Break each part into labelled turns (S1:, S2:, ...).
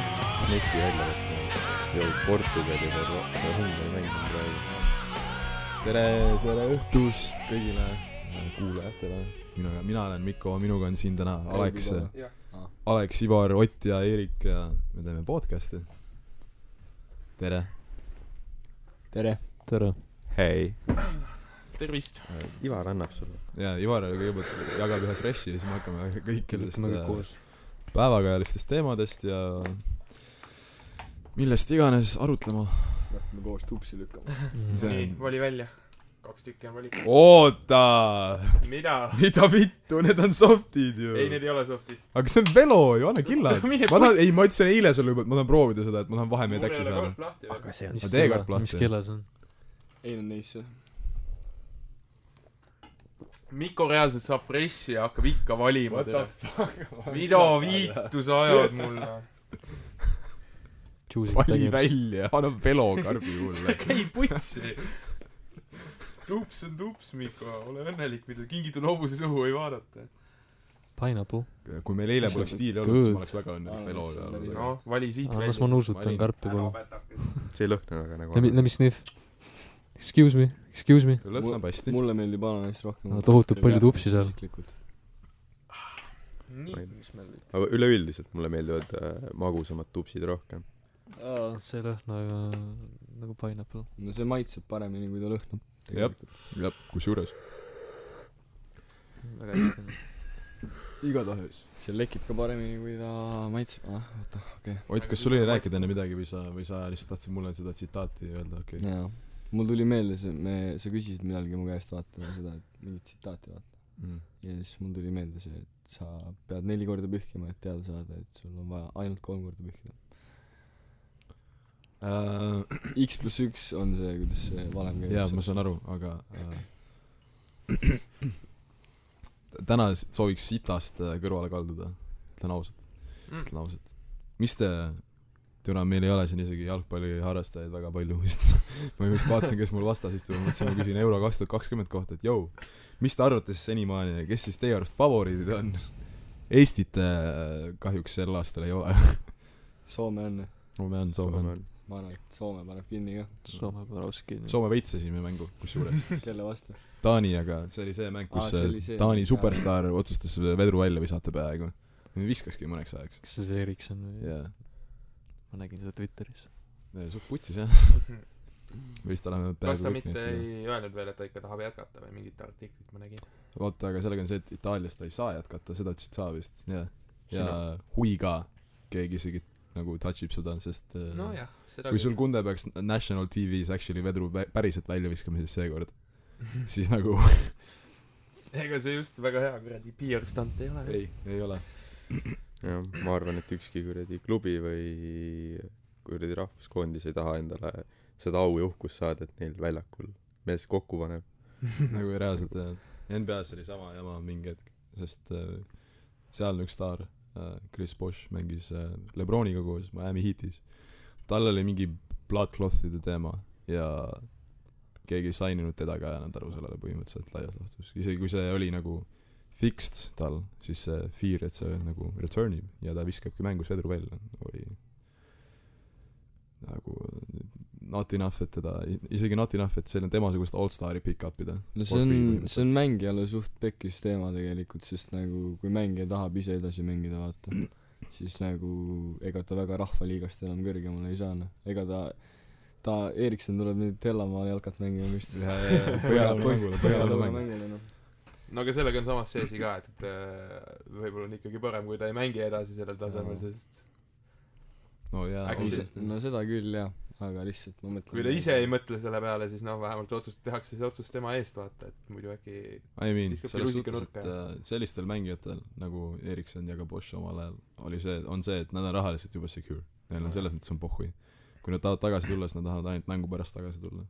S1: neti välja võtma . jõuab Portugali ja Ro- ja Ungari mängima praegu . tere , tere õhtust kõigile kuulajatele .
S2: minuga , mina olen Mikko , minuga on siin täna Alex ,
S3: jah ,
S4: Ah.
S2: Alex , Ivar , Ott ja Eerik ja me teeme podcast'i . tere .
S4: tere .
S5: tere .
S2: hei .
S5: tervist .
S1: Ivar annab sulle .
S2: ja Ivar kõigepealt jagab ühe fresh'i ja siis me hakkame kõikidest
S4: võtame kõik Nagu koos .
S2: äh, päevakajalistest teemadest ja millest iganes arutlema .
S4: hakkame koos tupsi lükkama .
S2: see
S3: nii ,
S2: on ,
S3: vali välja . kaks tükki on valikus .
S2: oota ,
S3: mida ?
S2: mida vittu , need on soft'id ju
S3: ei ,. need ei ole soft'id .
S2: aga see on velo ju , anna killad .
S3: Mine
S2: ma tahan , ei , ma ütlesin eile sulle juba , et ma tahan proovida seda , et ma tahan vahemehed äkki saada .
S3: lahti veel .
S1: aga see on
S2: Ma teekord plahti.
S5: mis kella see on ?
S4: ei no neisse .
S3: Mikko reaalselt saab fresh'i ja hakkab ikka valima
S2: What the
S3: teda . mida viitu sa ajad noh? mulle ?
S2: vali . välja , anna velo karbi juurde .
S3: käi putsi . tups on tups , Mikko , ole õnnelik , mida kingitud hobuse suhu ei vaadata .
S5: Pineapple .
S2: kui meil eile
S5: See
S2: poleks
S5: on
S2: diili olnud , siis
S5: good.
S2: ma oleks väga õnnelik
S4: Aa, see
S2: veloga
S4: on päris
S2: olnud .
S3: noh , vali siit
S5: las ma
S3: välja .
S5: nuusutan
S2: Valin.
S5: karpi palun .
S3: pätakas .
S1: see ei lõhna väga nagu
S5: Let me , let me sniff . Excuse me , excuse me .
S2: lõhnab hästi .
S4: mulle meeldib ananass rohkem
S5: No tohutult palju tupsi seal.
S4: isiklikult .
S3: nii ,
S1: aga üleüldiselt mulle meeldivad äh, magusamad tupsid rohkem
S5: Ah, see ei lõhna aga nagu pineapple .
S4: no see maitseb paremini , kui ta lõhnab .
S2: Jep. jah , kusjuures .
S5: väga hästi on .
S2: igatahes .
S4: see lekib ka paremini , kui ta maitseb . ah , oota , okei
S2: Ott , kas sul oli rääkida enne midagi või sa , või sa lihtsalt tahtsid mulle seda tsitaati öelda , okei
S4: okay. .
S2: okay. .
S4: jaa . mul tuli meelde see , me , sa küsisid millalgi mu käest vaata seda , et mingit tsitaati vaata .
S2: Mm.
S4: ja siis mul tuli meelde see , et sa pead neli korda pühkima , et teada saada , et sul on vaja ainult kolm korda pühkida .
S2: Äh,
S4: X pluss üks on see , kuidas see valem käib .
S2: jaa , ma saan aru , aga äh, täna s- sooviks sitast äh, kõrvale kalduda , ütlen ausalt ,
S3: Mm.
S2: ütlen ausalt . mis te , türa , meil ei ole siin isegi jalgpalliharrastajaid väga palju vist . ma just vaatasin , kes mul vastas istub ja mõtlesin , ma küsin Euro kaks tuhat kakskümmend kohta , et jõu , mis te arvate siis senimaani , kes siis teie arust favoriidid on ? Eestit äh, kahjuks sel aastal ei ole .
S4: Soome õnne .
S2: Soome on , Soome on .
S4: ma arvan , et Soome paneb kinni ka .
S5: Soome Borovski .
S2: Soome võitis esimene mängu , kusjuures .
S4: kelle vastu ?
S2: Taani , aga see oli see mäng ,
S4: Aa,
S2: kus
S4: see
S2: see
S4: oli see.
S2: Taani
S4: Jaa.
S2: superstaar otsustas vedru välja visata peaaegu . viskaski mõneks ajaks .
S5: kas see see Erikson või ?
S2: jaa ,
S5: ma nägin seda Twitteris .
S2: suht putsis jah . vist oleme
S3: kas ta
S2: peaaegu kõik
S3: mitte
S2: neid seda .
S3: ei öelnud veel , et ta ikka tahab jätkata või mingit artiklit ma nägin ?
S2: vaata , aga sellega on see , et Itaalias ta ei saa jätkata , seda ütlesid sa vist , jah . ja Hui ka , keegi isegi nagu touch ib seda , sest äh,
S3: nojah , seda
S2: kui sul kunde peaks National TV-s actually vedru vä- päriselt välja viskama , siis seekord , siis nagu
S3: ega see just väga hea kuradi PR stunt ei ole .
S2: ei , ei ole .
S1: jah ma arvan et ükski kuradi klubi või kuradi rahvuskoondis ei taha endale seda au ja uhkust saada et neil väljakul mees kokku paneb
S2: nagu reaalselt jah NBA-s oli sama jama mingi hetk sest äh, seal on üks staar äh, Chris Bosh mängis äh, Lebroniga koos Miami Heatis tal oli mingi bloodcloth'ide teema ja keegi ei sign inud teda ka ei andnud aru sellele põhimõtteliselt laias laastus isegi kui see oli nagu fixed tal siis see fear et see nagu return ib ja ta viskabki mängus vedru välja oli nagu not enough et teda isegi not enough et selline temasugust allstari pick up ida
S4: no see on , see on mängijale suht pekkis teema tegelikult , sest nagu kui mängija tahab ise edasi mängida , vaata , siis nagu ega ta väga rahvaliigast enam kõrgemale ei saa , noh , ega ta , ta , Erikson tuleb nüüd Hellamaal jalkat mängima vist .
S2: Põhjala mängule , Põhjala mängule .
S4: noh .
S3: no aga sellega on samas see asi ka , et , et äh, võib-olla on ikkagi parem , kui ta ei mängi edasi sellel tasemel , sest
S2: no jaa ,
S3: Äkki
S2: on see
S3: siis-
S4: no seda küll jah , aga lihtsalt ma mõtlen
S3: kui ta ise ei mõtle selle peale , siis noh , vähemalt otsus , tehakse see otsus tema eest , vaata , et muidu äkki
S2: I mean ,
S3: viskab
S2: selles
S3: rusika
S2: suhtes ,
S3: nurka,
S2: et äh, sellistel mängijatel nagu Erikson ja ka Bosch omal ajal oli see , on see , et nad on rahaliselt juba secure . Neil on selles mõttes on pohhui . kui nad tahavad tagasi tulla , siis nad tahavad ainult mängu pärast tagasi tulla .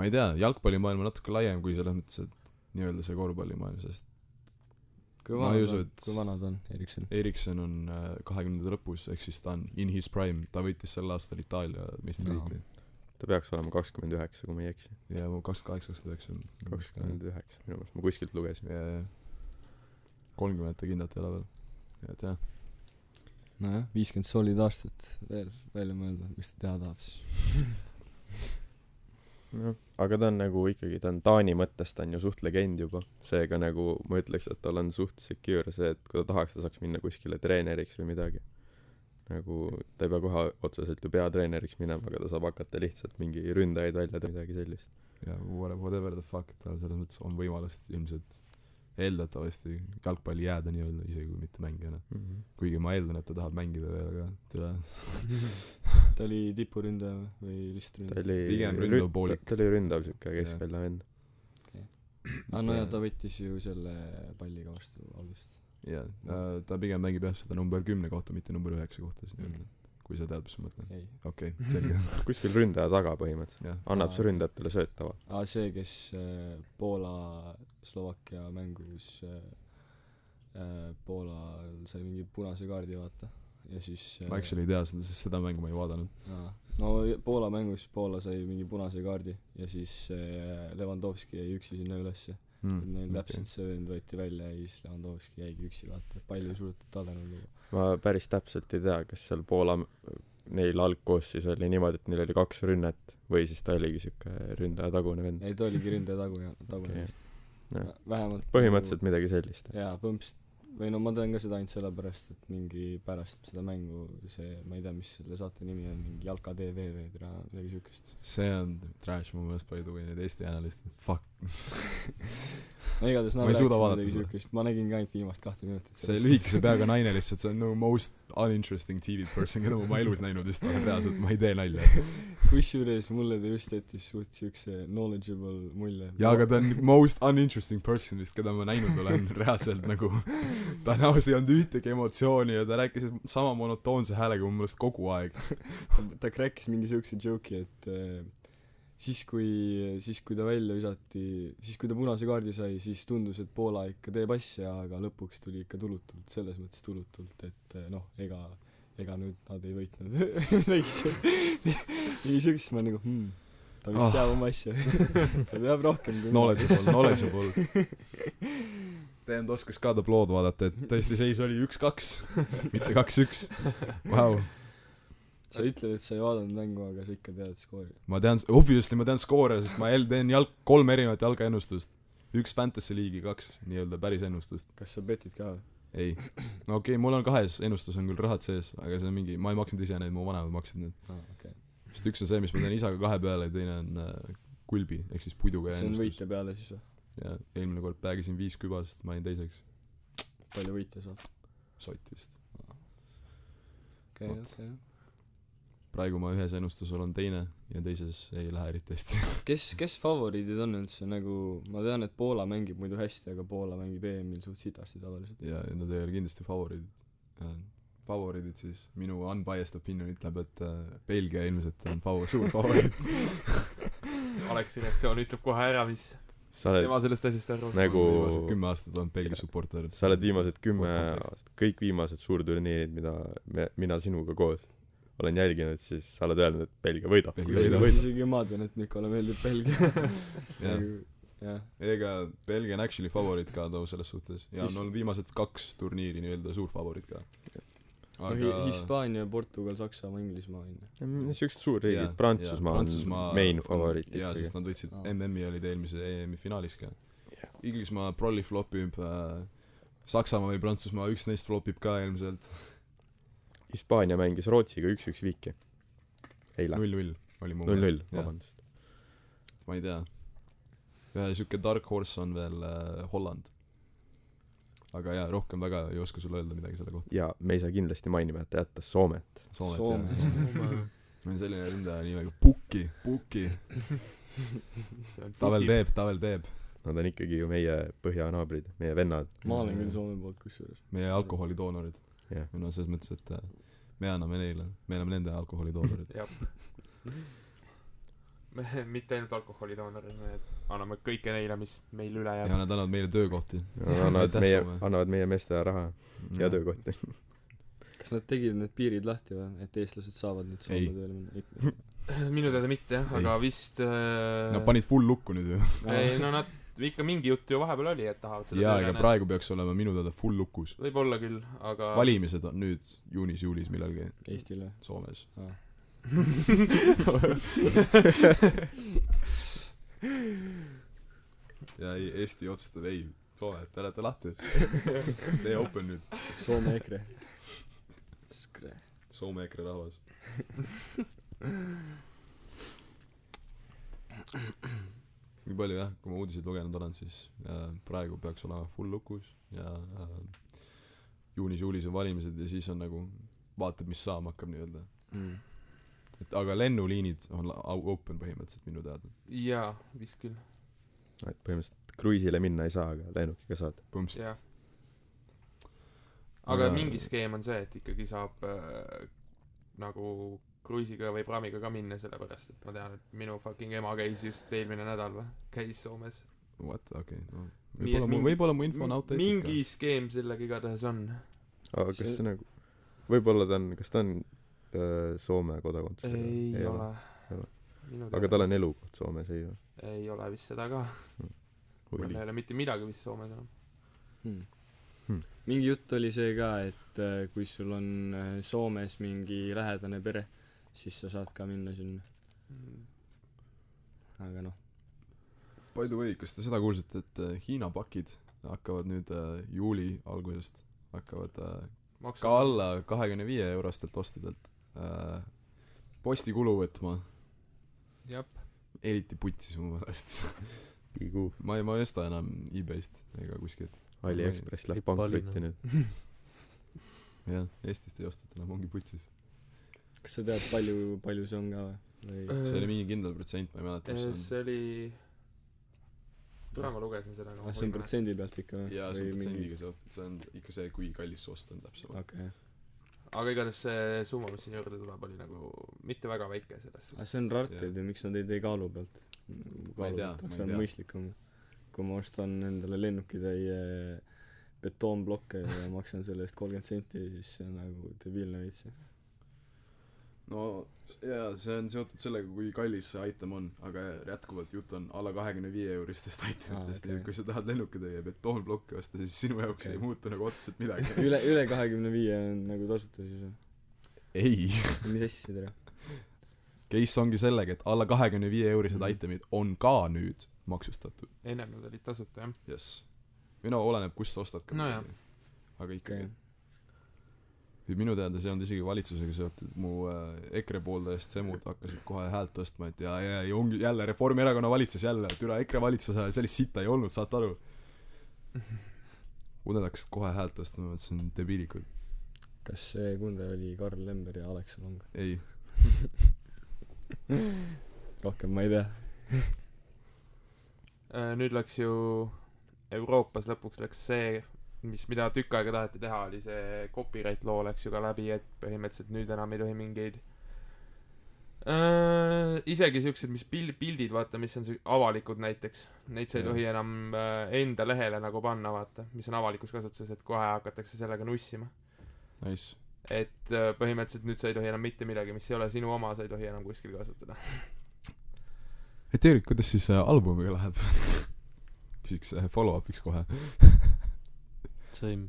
S2: ma ei tea , jalgpallimaailm on natuke laiem kui selles mõttes , et nii-öelda see korvpallimaailm , sest
S4: kui
S2: ma ei
S4: vanad
S2: usu,
S4: on ,
S2: et-
S4: kui vanad on Erikson ?
S2: Erikson on äh, kahekümnendate lõpus , ehk siis ta on in his prime , ta võitis sel aastal Itaalia meistritiitli .
S1: ta peaks olema kakskümmend üheksa kui ma ei eksi
S3: Mm.
S2: ja kakskümmend kaheksa , kakskümmend üheksa on .
S1: kakskümmend üheksa minu meelest ma kuskilt lugesin
S2: kolmkümmend ta kindlalt ei ole veel , et jah .
S4: nojah , viiskümmend solid aastat veel välja mõelda , mis ta teha tahab siis .
S1: jah , aga ta on nagu ikkagi , ta on Taani mõttes , ta on ju suht legend juba , seega nagu ma ütleks , et tal on suht secure see , et kui ta tahaks , ta saaks minna kuskile treeneriks või midagi . nagu ta ei pea kohe otseselt ju peatreeneriks minema , aga ta saab hakata lihtsalt mingi ründajaid välja tegema , midagi sellist .
S2: ja whatever whatever the fuck , tal selles mõttes on võimalus ilmselt eeldatavasti jalgpalli jääda nii-öelda , isegi kui mitte mängijana .
S1: Mhm.
S2: kuigi ma eeldan , et ta tahab mängida veel , aga tule ,
S4: ta oli tipuründaja või- või lihtsalt
S1: ta
S4: ründaja ?
S1: oli
S2: Pigem ründav poolik.
S1: ta oli ründav siuke keskvälja vend .
S4: aa Ah, no jaa , ta võttis ju selle palli ka vastu algust .
S2: jaa , äh, ta pigem mängib jah seda number kümne kohta , mitte number üheksa kohta siis
S1: Mm.
S2: nii-öelda . kui sa tead , mis ma mõtlen .
S4: ei .
S2: okei , selge ,
S1: kuskil ründaja taga põhimõtteliselt .
S2: jah .
S1: annab
S4: Aa.
S1: see ründajatele sööta või ?
S4: aa , Ah, see , kes äh, Poola-Slovakkia mängus äh, äh, Poolal sai mingi punase kaardi , vaata . ja siis
S2: ma actually ei tea seda , sest seda mängu ma ei vaadanud .
S4: aa. no Poola mängus Poola sai mingi punase kaardi ja siis äh, Levanovski jäi üksi sinna ülesse mm, . Neil okay. täpselt see vend võeti välja ja siis Levanovski jäigi üksi , vaata . palli ei suudetud talle nagu
S1: ma päris täpselt ei tea , kas seal Poola , neil algkoosseis oli niimoodi , et neil oli kaks rünnet või siis ta oligi siuke ründaja tagune vend .
S4: ei , ta oligi ründaja tagu- , tagune
S1: Okei.
S4: vist
S1: Jah.
S4: okay. . vähemalt
S1: põhimõtteliselt midagi sellist .
S4: jaa , põmps , või no ma tean ka seda ainult sellepärast , et mingi pärast seda mängu see , ma ei tea , mis selle saate nimi on , mingi Jalka TV või tra- midagi siukest .
S2: see on trash mu meelest by the way , need Eesti analüüsid , fuck .
S4: no igatahes nad
S2: Ma ei suuda
S4: rääkisid
S2: vaadata
S4: midagi
S2: seda.
S4: siukest , ma nägin ka ainult viimast kahte minutit
S2: see lühikese peaga naine lihtsalt , see on nagu most uninteresting TV person , keda ma oma elus näinud vist olen reaalselt , ma ei tee nalja .
S4: kusjuures mulle ta just jättis suht siukse knowledgeable mulje .
S2: jaa , aga ta on most uninteresting person vist , keda ma näinud olen reaalselt nagu , ta näos ei olnud ühtegi emotsiooni ja ta rääkis sama monotoonse häälega mu meelest kogu aeg .
S4: ta kräkkis mingi siukse joke'i , et äh, siis kui , siis kui ta välja visati , siis kui ta punase kaardi sai , siis tundus , et Poola ikka teeb asja , aga lõpuks tuli ikka tulutult , selles mõttes tulutult , et äh, noh , ega , ega nüüd nad ei võitnud midagi siukest , mingi siukest , siis ma nagu hmm, ta vist
S2: Ah.
S4: oh. teab oma asja , ta teab rohkem kui
S2: Knowledgeable , knowledgeable . TM-d oskas ka tablood vaadata , et tõesti seis oli üks-kaks , mitte kaks-üks . Vau ,
S4: sa ütled , et sa ei vaadanud mängu , aga sa ikka tead skoori .
S2: ma tean , obviously ma tean skoore , sest ma jälle teen jalg , kolm erinevat jalgaennustust . üks Fantasy League'i , kaks nii-öelda päris ennustust .
S4: kas sa betid ka või ?
S2: ei , no okei okay, , mul on kahes ennustus on küll rahad sees , aga see on mingi , ma ei maksnud ise neid , mu vanemad maksid need .
S4: aa , okei okay. .
S2: sest üks on see , mis ma teen isaga kahe peale ja teine on äh, kulbi ehk siis puiduga
S4: see on . võitja peale siis või ?
S2: ja eelmine kord päägisin viis küba , sest ma jäin teiseks .
S4: palju võitja saab ?
S2: sott vist .
S4: okei ,
S2: Vot.
S4: okei .
S2: praegu ma ühes ennustuses olen teine ja teises ei lähe eriti hästi .
S4: kes , kes favoriidid on üldse nagu , ma tean , et Poola mängib muidu hästi , aga Poola mängib EM-il suht sitasti tavaliselt .
S2: ja ja nad ei ole kindlasti favoriidid . favoriidid siis , minu unbiased opinion ütleb , et äh, Belgia ilmselt on favor- , suur favoriit .
S3: Aleksi reaktsioon ütleb kohe ära , mis
S1: sa oled
S3: tema sellest asjast arvab .
S1: nagu ,
S2: viimased kümme aastat olnud Belgia supporter .
S1: sa oled viimased kümme
S2: Kontekst. ,
S1: kõik viimased suurturniirid , mida me , mina sinuga koos olen jälginud , siis sa oled öelnud , et Belgia võidab .
S2: Belgia
S1: kui
S2: võidab.
S1: ta võidab .
S4: isegi ma tean , et Mikole meeldib Belgia .
S2: jah ,
S4: jah ,
S2: ega Belgia on actually favoriit ka too selles suhtes ja
S4: His-
S2: on olnud viimased kaks turniiri nii-öelda suur favoriit ka .
S4: no Hi- , Hispaania , Portugal , Saksamaa , Inglismaa on ju .
S1: niisugused suurriigid
S2: Jaa, ,
S1: Prantsusmaa
S2: jaa, Prantsusmaa
S1: on main
S2: on-
S1: favoriit
S2: jaa ,
S1: ikkagi
S2: sest . nad võitsid
S4: Aa.
S2: MM-i olid eelmise EM-i finaalis ka
S1: Jah.
S2: Inglismaa prolli flopib äh, Saksamaa või Prantsusmaa üks neist flopib ka ilmselt
S1: Hispaania mängis Rootsiga üks-üks viiki . eile .
S2: null-null oli mu
S1: null-null ,
S2: jah ,
S1: vabandust .
S2: ma ei tea ühe siuke dark horse on veel äh, Holland aga jaa rohkem väga ei oska sulle öelda midagi selle kohta
S1: ja me ei saa kindlasti mainimata jätta Soomet .
S2: Soomet
S4: Soome.
S2: jah meil on selline ründaja nimega Puki Puki ta veel . teeb ta veel teeb
S1: Nad on ikkagi ju meie põhjanaabrid , meie vennad .
S4: ma olen küll Soome poolt kusjuures .
S2: meie alkoholidoonorid
S1: Jah.
S2: või noh selles mõttes et äh, me anname neile me oleme nende alkoholidoonorid
S3: jah . me mitte ainult alkoholidoonorid , me anname kõike neile , mis meil üle jääb
S2: ja . nad annavad meile töökohti
S1: annavad
S2: Aitäh,
S1: meie
S2: Soome. ,
S1: annavad meie meestele raha ja töökohti .
S4: kas nad tegid need piirid lahti või , et eestlased saavad nüüd Soome
S2: Ei.
S4: tööle minna ?
S3: minu teada mitte jah ,
S2: Ei.
S3: aga vist äh...
S2: Nad panid full lukku nüüd ju
S3: ei no nad ikka mingi jutt ju vahepeal oli , et tahavad seda
S2: jaa ,
S3: teha,
S2: ega
S3: näed.
S2: praegu peaks olema minu teada full lukus .
S3: võib-olla küll , aga
S2: valimised on nüüd juunis-juulis millalgi
S4: Eestile
S2: Soomes .
S4: ah. .
S2: ja ei , Eesti otsustab ei , Soome , te olete lahti . Teie open nüüd .
S4: Soome EKRE .
S2: Soome EKRE rahvas . nii palju jah , kui ma uudiseid lugenud olen , siis äh, praegu peaks olema full lukus ja äh, juunis-juulis on valimised ja siis on nagu vaatab , mis saama hakkab nii-öelda . Mm. et aga lennuliinid on la- au- open põhimõtteliselt minu teada
S3: jaa , vist küll ,
S1: et põhimõtteliselt kruiisile minna ei saa , aga lennukiga saad .
S2: põhimõtteliselt
S3: jah . aga
S2: Aga-
S3: mingi skeem on see , et ikkagi saab äh, nagu kruiisiga või praamiga ka minna , sellepärast et ma tean , et minu fucking ema käis just eelmine nädal või , käis Soomes .
S2: what okei okay, no
S3: Nii,
S2: võibolla
S3: et
S2: mu
S3: mingi-
S2: võibolla mu info on outdated
S3: mingi skeem sellega igatahes on .
S1: aga kas
S4: See-
S1: see, see nagu , võib-olla ta on , kas ta on öö, Soome kodakondsusega ?
S3: ei ole .
S1: ei ole.
S3: minu
S1: aga tal
S3: teada
S1: on elukoht Soomes , ei või ?
S3: ei ole vist seda ka . mul ei ole mitte midagi vist Soomes enam .
S4: Hmm.
S1: Hmm.
S4: mingi jutt oli see ka , et äh, kui sul on äh, Soomes mingi lähedane pere , siis sa saad ka minna sinna ,
S3: Mm.
S4: aga noh ,
S2: ka. by the way kas te seda kuulsite et äh, Hiina pakid hakkavad nüüd äh, juuli algusest hakkavad äh, ka alla kahekümne viie eurostelt ostudelt äh, postikulu võtma
S3: jah ,
S2: eriti putsis mu meelest
S1: Igu ,
S2: ma ei ma ei osta enam e-Bayst ega kuskilt
S1: Aliekspress läheb
S5: Lipp Alina.
S1: pankrotti nüüd .
S2: jah Eestist ei osteta enam ongi putsis
S4: kas sa tead , palju , palju see on ka või ? või
S2: see oli mingi kindel protsent ma ei mäleta mis see
S3: see oli , täna ma lugesin seda .
S4: kas Ah, see on protsendi pealt ikka
S2: on
S4: või ?
S2: jaa see on protsendiga seotud see on ikka see kui kallis see ost on täpsemalt
S4: okei okay. ,
S3: aga igatahes see summa , mis siin juurde tuleb , oli nagu mitte väga väike selles suhtes .
S4: aga Ah, see on rartid ju , miks nad ei tee kaalu pealt ?
S2: ma ei tea ma
S4: see
S2: ei
S4: on
S2: tea
S4: mõistlikum . kui ma ostan endale lennukitäie betoonblokke ja maksan selle eest kolmkümmend senti , siis see on nagu debiilne veits .
S2: no jaa , see on seotud sellega , kui kallis see item on , aga jätkuvalt jutt on alla kahekümne viie euristest itemitest ,
S4: Aa,
S2: nii
S4: okei.
S2: et kui sa tahad lennukitäie betoonplokke osta , siis sinu jaoks
S4: Okei.
S2: ei muutu nagu otseselt midagi .
S4: üle , üle kahekümne viie on nagu tasuta siis või ?
S2: ei ,
S4: mis asja tere ?
S2: case ongi sellega , et alla kahekümne viie eurised
S4: Mhm.
S2: itemid on ka nüüd maksustatud .
S4: Ah.
S3: ennem nad olid tasuta , jah .
S2: jess . või no oleneb , kust sa ostad ka
S3: Nojah. .
S2: aga
S4: okei
S2: ikkagi , okay. minu teada see ei olnud isegi valitsusega seotud , mu äh, EKRE pooldajast semud hakkasid kohe häält tõstma , et jaa , jaa , ja ongi jälle Reformierakonna valitsus jälle , türa EKRE valitsuse ajal sellist sitta ei olnud , saate aru . kui nad hakkasid kohe häält tõstma , ma mõtlesin , debiilikud ,
S4: kas see Kunde oli Karl Lember ja Alex Long ?
S2: ei .
S4: rohkem ma ei tea .
S3: Äh, nüüd läks ju Euroopas lõpuks läks see , mis , mida tükk aega taheti teha , oli see copyright loo läks ju ka läbi , et põhimõtteliselt nüüd enam ei tohi mingeid äh, isegi siuksed , mis pil- , pildid , vaata , mis on siu- avalikud näiteks , neid sa ei
S2: Jah.
S3: tohi enam äh, enda lehele nagu panna , vaata , mis on avalikus kasutuses , et kohe hakatakse sellega nussima .
S2: Nice .
S3: et äh, põhimõtteliselt nüüd sa ei tohi enam mitte midagi , mis ei ole sinu oma , sa ei tohi enam kuskil kasutada .
S2: et Eerik , kuidas siis äh, albumiga läheb ? küsiks äh, follow-up'iks kohe .
S5: same .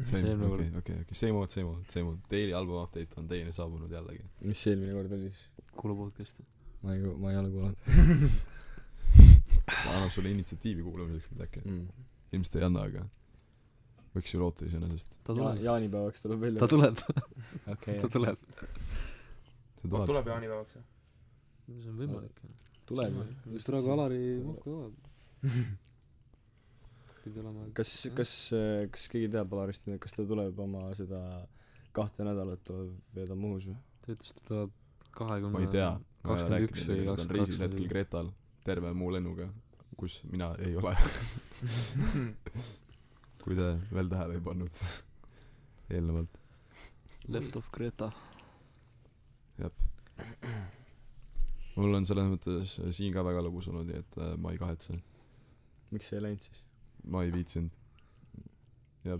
S5: See
S2: okei ,
S5: eelmine kord.
S2: okei , okei , same old , same old , same old . Daily album update on teine saabunud jällegi .
S4: mis see eelmine kord oli siis ?
S5: kuulu podcast'i .
S4: ma ei , ma ei ole kuulanud
S2: ta annab sulle initsiatiivi kuulamiseks nüüd äkki .
S4: mm. .
S2: ilmselt ei anna , aga võiks ju loota iseenesest .
S5: ta
S4: ja,
S5: tuleb ,
S4: jaanipäevaks tuleb välja
S5: ta . tuleb ,
S4: okei
S5: ta , tuleb .
S2: see
S3: tuleb jaanipäevaks või ?
S5: see on võimalik .
S4: tuleb .
S5: just praegu Alari mulku jõuab . pidi olema .
S4: kas , kas , kas keegi teab Alarist , kas ta tuleb oma seda kahte nädalat tuleb veedab Muhus või ?
S5: ta ütles , et ta tuleb kahekümne .
S2: ma ei tea , ma ei ole
S5: kakskümmend üks
S2: rääkinud
S5: või
S2: nendega , nad on
S5: kakskümmend
S2: reisil hetkel
S5: kaks .
S2: Gretal , terve muu lennuga , kus mina ei ole . kui te veel tähele ei pannud eelnevalt .
S5: Left of Greta .
S2: mul on selles mõttes äh, siin ka väga lõbus olnud , nii et äh, ma ei kahetse .
S4: miks sa ei läinud siis ?
S2: ma ei viitsinud . jah .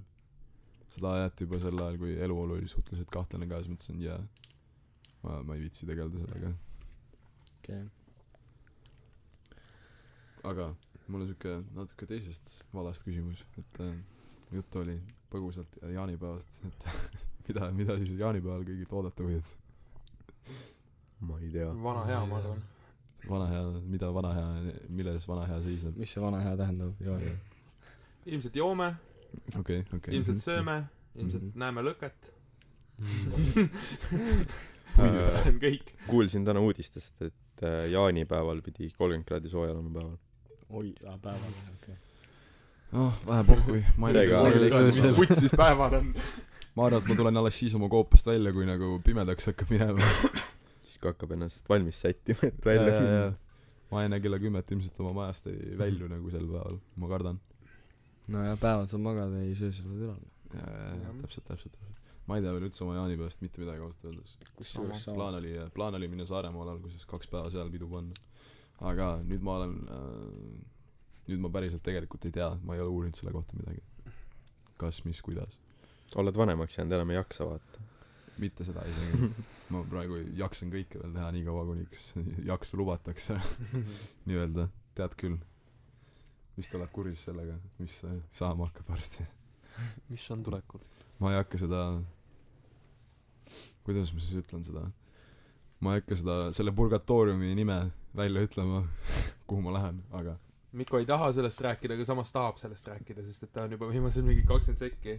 S2: seda jäeti juba sel ajal , kui eluolu oli suhteliselt kahtlane ka , siis mõtlesin , jaa . ma , ma ei viitsi tegeleda sellega .
S4: okei okay. .
S2: aga mul on siuke natuke teisest valast küsimus , et äh, juttu oli põgusalt ja- jaanipäevast , et mida , mida siis jaanipäeval kõigilt oodata võib ?
S1: ma ei tea .
S3: vana hea , ma arvan .
S2: vana hea , mida vana hea , milles vana hea seisneb ?
S4: mis see vana hea tähendab , Jaan ?
S3: ilmselt joome ,
S2: okei , okei .
S3: ilmselt sööme , ilmselt
S2: Mhm.
S3: näeme lõket .
S1: Äh.
S3: see on kõik .
S1: kuulsin täna uudistest , et äh, jaanipäeval pidi kolmkümmend kraadi sooja olema päeval .
S4: oi , päeval , okei .
S2: noh , vähe pohhui . ma ei
S1: Tere, Kaarel.
S2: tea ,
S3: mis
S4: tõesti.
S3: putsis päevad on .
S2: ma arvan , et ma tulen alles siis oma koopast välja , kui nagu pimedaks hakkab minema .
S1: siis kui hakkab ennast valmis sättima , et välja minna ..
S2: ma enne kella kümmet ilmselt oma majast ei välju nagu sel päeval , ma kardan .
S4: nojah , päeval saab magada , ei söö selle üle .
S3: Jah.
S2: täpselt , täpselt , täpselt . ma ei tea veel üldse oma jaanipäevast mitte midagi ausalt öeldes .
S4: kusjuures sama .
S2: plaan oli , plaan oli minna Saaremaale alguses kaks päeva seal pidu panna . aga nüüd ma olen äh, , nüüd ma päriselt tegelikult ei tea , ma ei ole uurinud selle kohta midagi . kas , mis , kuidas .
S1: oled vanemaks jäänud , enam ei jaksa vaata .
S2: mitte seda isegi . ma praegu jaksan kõike veel teha nii kaua , kuniks jaksu lubatakse nii-öelda , tead küll . vist oled kursis sellega , mis saama hakkab varsti .
S5: mis on tulekul ?
S2: ma ei hakka seda , kuidas ma siis ütlen seda , ma ei hakka seda , selle purgatooriumi nime välja ütlema , kuhu ma lähen , aga
S3: Mikko ei taha sellest rääkida , aga samas tahab sellest rääkida , sest et ta on juba viimased mingi kakskümmend sekki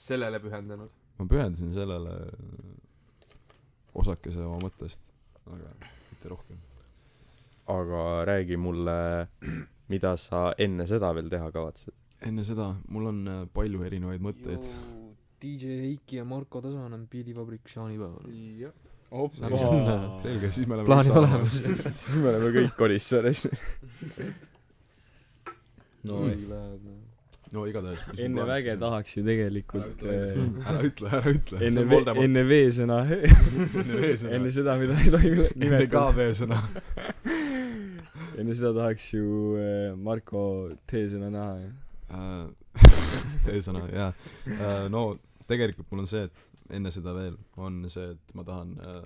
S3: sellele pühendanud .
S2: ma pühendasin sellele osakese oma mõttest , aga mitte rohkem .
S1: aga räägi mulle , mida sa enne seda veel teha kavatsed .
S2: enne seda , mul on äh, palju erinevaid mõtteid .
S5: DJ Heiki ja Marko Tasanen piilivabrik jaanipäeval .
S3: jah .
S2: selge , siis me oleme
S5: plaanid
S2: kõik
S5: olemas .
S1: siis me oleme kõik Korissaares .
S4: no
S1: Mm.
S4: ei läheb .
S2: sama. no igatahes mis
S4: enne
S2: mul
S4: väge
S2: plaanis on-
S4: tahaks ju tegelikult eh,
S2: ära ütle , ära ütle .
S4: enne
S3: on
S4: V ,
S3: Voldemort.
S4: enne V-sõna ,
S2: enne V-sõna.
S4: enne seda , mida ei tohi üle-
S2: enne ka
S4: nimetada .
S2: V-sõna .
S4: enne seda tahaks ju eh, Marko T-sõna näha ju .
S2: T-sõna , Äh, jaa . no tegelikult mul on see , et enne seda veel on see , et ma tahan äh,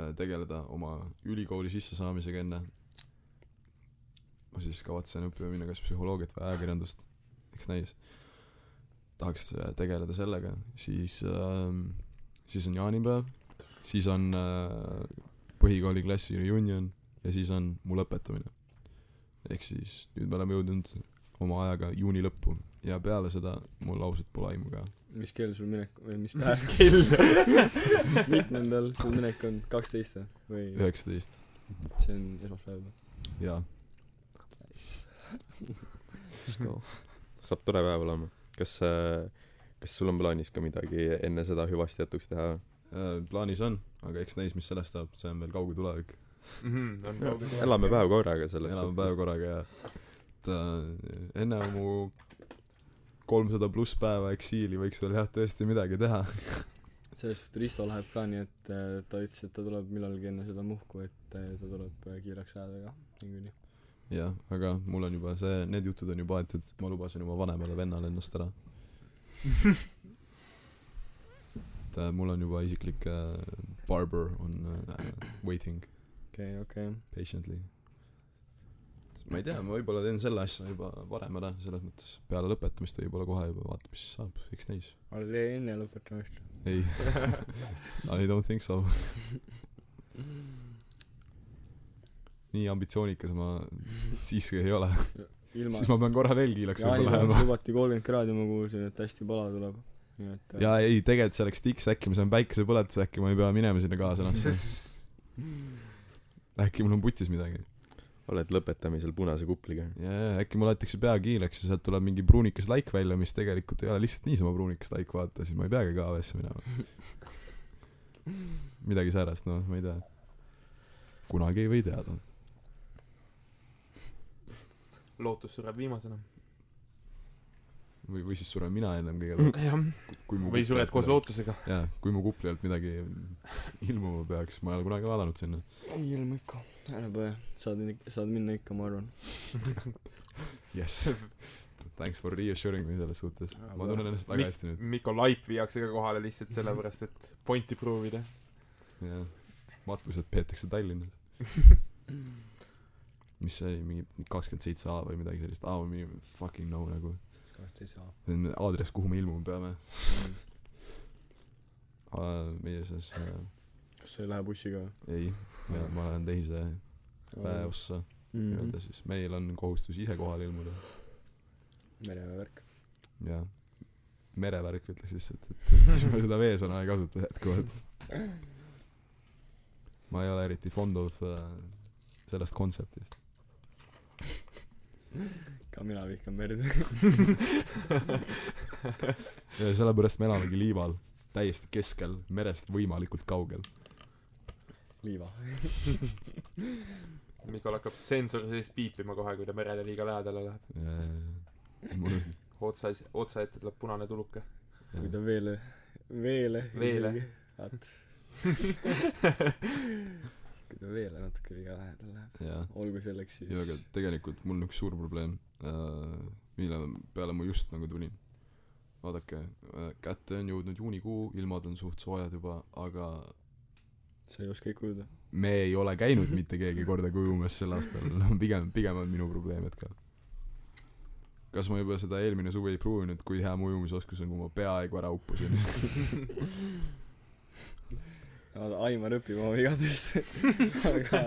S2: äh, tegeleda oma ülikooli sissesaamisega enne . ma siis kavatsen õppima minna kas psühholoogiat või ajakirjandust , eks näis . tahaks äh, tegeleda sellega , siis ähm, , siis on jaanipäev , siis on äh, põhikooli klassi reunion ja siis on mu lõpetamine . ehk siis nüüd me oleme jõudnud oma ajaga juuni lõppu ja peale seda mul ausalt pole aimu ka .
S4: mis kell sul minek või mis päev kell mitmendal sul minek on kaksteist või või
S2: üheksateist ,
S4: see on esmaspäev
S2: jaa .
S5: Let's go .
S1: saab tore päev olema . kas , kas sul on plaanis ka midagi enne seda hüvasti jätuks teha ?
S2: Äh, plaanis on , aga eks näis , mis sellest saab , see on veel kauge tulevik .
S3: Mhm, on kauge
S1: elame päev korraga selles
S2: elame . päev korraga ja et äh, enne mu kolmsada pluss päeva eksiili võiks veel jah , tõesti midagi teha .
S4: selles suhtes Risto läheb ka nii et äh, ta ütles et ta tuleb millalgi enne seda muhku et äh, ta tuleb äh, kiireks ajadega niikuinii
S2: jah , aga mul on juba see , need jutud on juba aetud , ma lubasin oma vanemale vennale ennast ära . et äh, mul on juba isiklik äh, barber on äh, waiting .
S4: okei okay, okei okay.
S2: patiently . ma ei tea , ma võib-olla teen selle asja juba varem ära , selles mõttes peale lõpetamist võib-olla kohe juba vaatad , mis saab , eks näis .
S4: aga tee enne lõpetamist
S2: ei , I don't think so . nii ambitsioonikas ma siiski ei ole , siis
S4: ilma
S2: ma pean korra veel kiilaks võib-olla
S4: jaanipäeval
S2: lähema .
S4: lubati kolmkümmend kraadi ma kuulsin et hästi pala tuleb nii et äh,
S2: jaa , ei tegelikult see oleks tiks , äkki ma saan päikesepõletus , äkki ma ei pea minema sinna kaasa ennast . äkki mul on putsis midagi .
S1: oled lõpetamisel punase kupliga .
S2: jaa , äkki mul aetakse pea kiileks ja sealt tuleb mingi pruunikas laik välja , mis tegelikult ei ole lihtsalt niisama pruunikas laik , vaata , siis ma ei peagi KV-sse minema . midagi säärast , noh , ma ei tea . kunagi ei või teada .
S3: lootus sureb viimasena .
S2: või , või siis suren mina ennem kõigepealt ,
S3: jah ,
S2: kui mu
S3: või sured koos . lootusega .
S2: jaa , kui mu kupli alt midagi ilmuma peaks , ma ei ole kunagi vaadanud sinna .
S4: ei ilma ikka ära põe saad in- saad minna ikka ma arvan
S2: Yes . Thanks for reassuring me selles suhtes . ma tunnen ennast
S3: Mi-
S2: väga hästi nüüd ,
S3: Mikko Laip viiakse ka kohale lihtsalt sellepärast , et pointi prove ida .
S2: jah . matlused peetakse Tallinnas . mis see oli , mingi kakskümmend seitse A või midagi sellist , A on mingi fucking no nagu .
S6: kaheksateist
S2: see on aadress , kuhu me ilmuma peame . meie selles äh, ,
S6: kas sa ei lähe bussiga
S2: ei , ma lähen teise väeossa
S6: või
S5: Mm.
S2: nii-öelda ? siis , meil on kohustus ise kohale ilmuda
S6: mereväe värk .
S2: ja merevärk ütleks lihtsalt , et siis ma seda veesõna ei kasuta jätkuvalt . ma ei ole eriti fond of äh, sellest kontseptist .
S6: ka mina vihkan merd .
S2: ja sellepärast me elamegi liival , täiesti keskel , merest võimalikult kaugel .
S6: liiva .
S3: Mikol hakkab sensor sees piipima kohe , kui ta merele liiga lähedale läheb .
S2: Äh, mul
S3: otsa , otsa ette tuleb punane tuluke .
S6: kui ta veel , veel .
S3: Veele. .
S6: vaat . kui ta veel natuke liiga lähedale läheb .
S2: jah ,
S6: olgu selleks siis .
S2: ja aga tegelikult mul on üks suur probleem , mille peale ma just nagu tulin . vaadake , kätte on jõudnud juunikuu , ilmad on suht soojad juba , aga
S6: sa ei oska ikka ujuda .
S2: me ei ole käinud mitte keegi korda kujumas sel aastal , no pigem , pigem on minu probleem hetkel . kas ma juba seda eelmine suvi ei proovinud , kui hea mu ujumisoskus on , kui ma peaaegu ära uppusin ?
S6: Aimar õpib oma vigadest . aga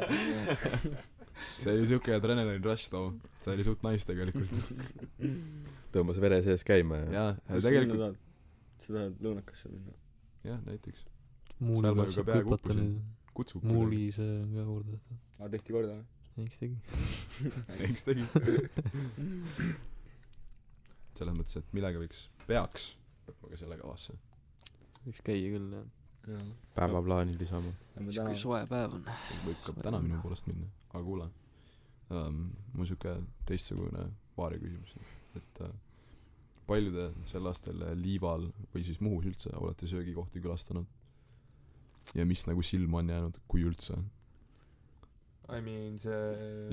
S2: see oli siuke adrenalin rush too , see oli suht nice tegelikult .
S1: tõmbas vere sees käima ja,
S2: jaa ,
S6: kus sa minna
S2: tegelikult ,
S6: tahad ? sa tahad lõunakasse minna ?
S2: jah , näiteks .
S5: muuli
S2: Seal ma
S5: pealt
S2: ju ka
S5: saab
S2: peaaegu
S5: hüpata
S2: uppusin.
S5: nüüd .
S2: kutsub .
S5: muuli see on ka juurde .
S6: aa , tehti korda või ?
S5: eks tegi .
S2: eks tegi . selles mõttes , et millega võiks , peaks võtma ka selle kavasse .
S5: võiks käia küll jah .
S6: jaa .
S1: päevaplaani lisama .
S6: Lähme
S5: siis kui
S6: täna .
S5: soe päev on .
S2: võib ka täna minu poolest minna , aga kuule um, , mul siuke teistsugune paari küsimus , et uh, palju te sel aastal äh, Liival või siis Muhus üldse olete söögikohti külastanud ? ja mis nagu silma on jäänud , kui üldse ?
S3: I mean see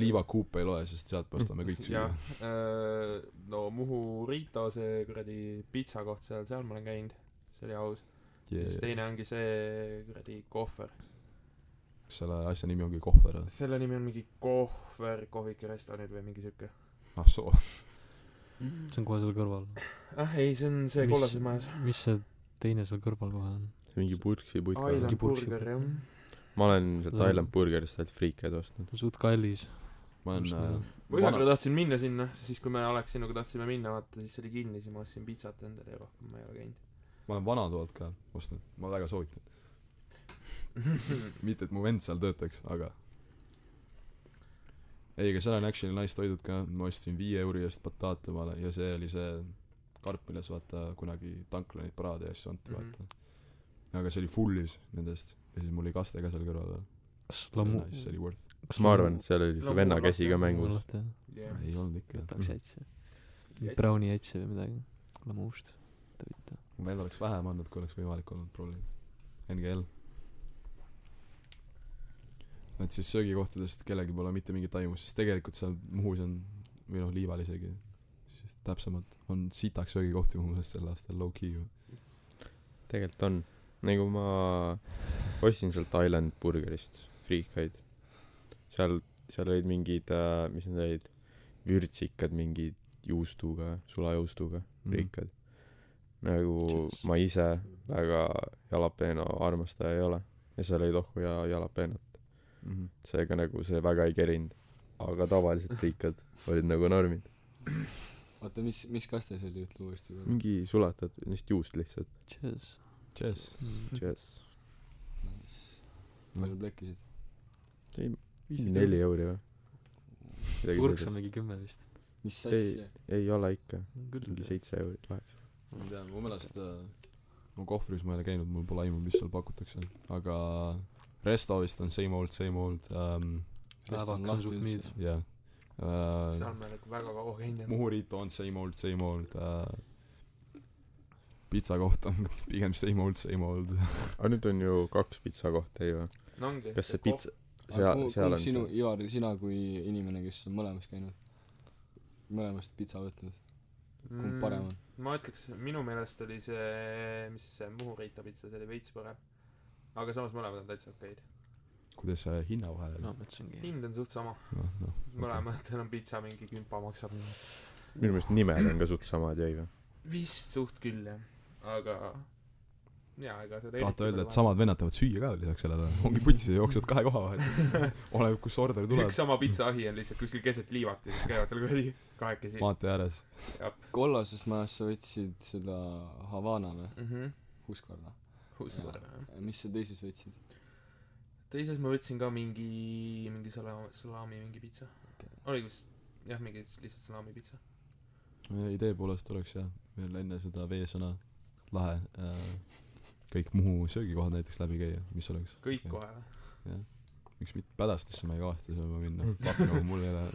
S2: liivakuupe ei loe , sest sealt me ostame kõik süüa
S3: jah . öö, no Muhu Rito see kuradi pitsakoht seal seal ma olen käinud see oli aus yeah.
S2: Yeah.
S3: siis teine ongi see kuradi kohver
S2: kas selle asja nimi ongi kohver või ?
S3: selle nimi on mingi kohver kohvikurestoranid või mingi siuke
S2: ah soo ,
S5: see on kohe seal kõrval .
S3: ah ei see on see
S5: Mis-
S3: kollases majas
S5: mis see teine seal kõrval kohe on ?
S1: see mingi burksi puit ka
S3: Island
S5: mingi
S1: või ?
S5: purksi-
S3: Burger jah
S1: ma olen sealt
S5: Mm.
S1: Island Burgerist ainult friikeid ostnud .
S5: ta on suht kallis .
S2: ma olen äh,
S3: ma ühe
S2: Vana-
S3: korra tahtsin minna sinna siis kui me Alex sinuga tahtsime minna vaata siis see oli kinni siis ma ostsin pitsat endale ja rohkem ma ei ole
S2: ma olen vanatoalt ka ostnud , ma väga soovitan .
S3: käinud
S2: mitte , et mu vend seal töötaks , aga ei , aga seal on actually nice toidud ka , ma ostsin viie euri eest bataat omale ja see oli see karp , milles vaata kunagi tankla neid paraade ja asju anti
S3: Mhm.
S2: vaata . aga see oli full'is nendest ja siis mul oli kaste ka seal kõrval veel .
S5: kas
S2: see oli
S5: lammu ?
S2: nice , see oli worth .
S1: ma arvan , et seal oli see
S3: Lamu-
S1: venna käsi ka mängus .
S5: lahti jah .
S3: jah
S2: ei olnud ikka .
S5: võtaks jätse .
S3: Jätse.
S5: Browni jätse või midagi . lamuust . tavita .
S2: mu vend oleks vähem andnud , kui oleks võimalik olnud probleem . NGL . et siis söögikohtadest kellelgi pole mitte mingit aimu , sest tegelikult seal Muhus on , või noh , Liival isegi , siis täpsemalt , on sitaks söögikohti mu meelest sel aastal low-key ju .
S1: tegelikult on . nagu ma ostsin sealt Island Burgerist friikaid . seal , seal olid mingid , mis need olid , vürtsikad mingid juustuga , sulajuustuga friikad . nagu
S5: Chips.
S1: ma ise väga jalapeno armastaja ei ole ja seal ei tohu ja jalapenot ,
S2: mm .
S1: seega nagu see väga ei kerinud . aga tavalised friikad olid nagu normid .
S4: oota , mis , mis kaste see oli , ütle uuesti veel .
S1: mingi sulatud , neist juust lihtsalt .
S5: Cheers .
S2: Cheers .
S1: Yes.
S4: palju plekkisid ?
S1: neli euri või ?
S5: purks on mingi kümme vist .
S4: mis asja ?
S1: ei ole ikka , mingi
S5: küll .
S1: seitse eurot , kaheksa .
S2: ma ei tea , mu meelest äh, no kohvris ma ei ole käinud , mul pole aimu , mis seal pakutakse , aga resto vist on same old , same old um, ,
S5: päevaks on suht miid .
S2: jah yeah.
S3: seal me nagu väga kaua käinud ei
S2: Muhu Riit on same old , same old äh, . pitsa koht on pigem same old , same old .
S1: aga nüüd on ju kaks pitsakohta ju .
S3: ole no ongi
S1: kas see
S3: kohv-
S1: pits- , seal , seal on
S4: sinu ,
S1: see .
S4: Ivar , sina kui inimene , kes on mõlemas käinud , mõlemast pitsa võtnud , kumb
S3: Mm.
S4: parem on ?
S3: ma ütleks , minu meelest oli see , mis see Muhu Reita pitsa , see oli veits parem . aga samas mõlemad on täitsa okeid .
S2: kuidas äh, see hinnavahe oli ?
S5: no ma mõtlesingi .
S3: hind on suht sama .
S2: noh , noh ,
S3: mõlematel on pitsa mingi kümpa maksab
S1: minu meelest nimed on ka suht samad jäi või
S3: vist suht küll jah aga jaa ega seda
S2: tahate öelda , et samad vennad teevad süüa ka lisaks sellele , ongi putsi , jooksed kahe koha vahel . oleneb , kus order tuleb
S3: üks , sama pitsaahi on lihtsalt kuskil keset liivat ja siis käivad seal kuradi kahekesi
S2: maantee ääres .
S4: kollases majas sa võtsid seda Havana või ?
S3: mhmh
S4: Husqvarna .
S3: usuvärne
S4: mis sa teises võtsid ?
S3: teises ma võtsin ka mingi mingi sala- salami mingi pitsa oligi vist jah mingi lihtsalt salami pitsa
S2: idee poolest oleks jah , veel enne seda V-sõna lahe äh, kõik Muhu söögikohad näiteks läbi käia , mis oleks ,
S3: kõik
S2: Okei.
S3: kohe vä
S2: miks mitte Pädastesse ma ei kavatsegi sööma minna , fuck no mul ei ole ,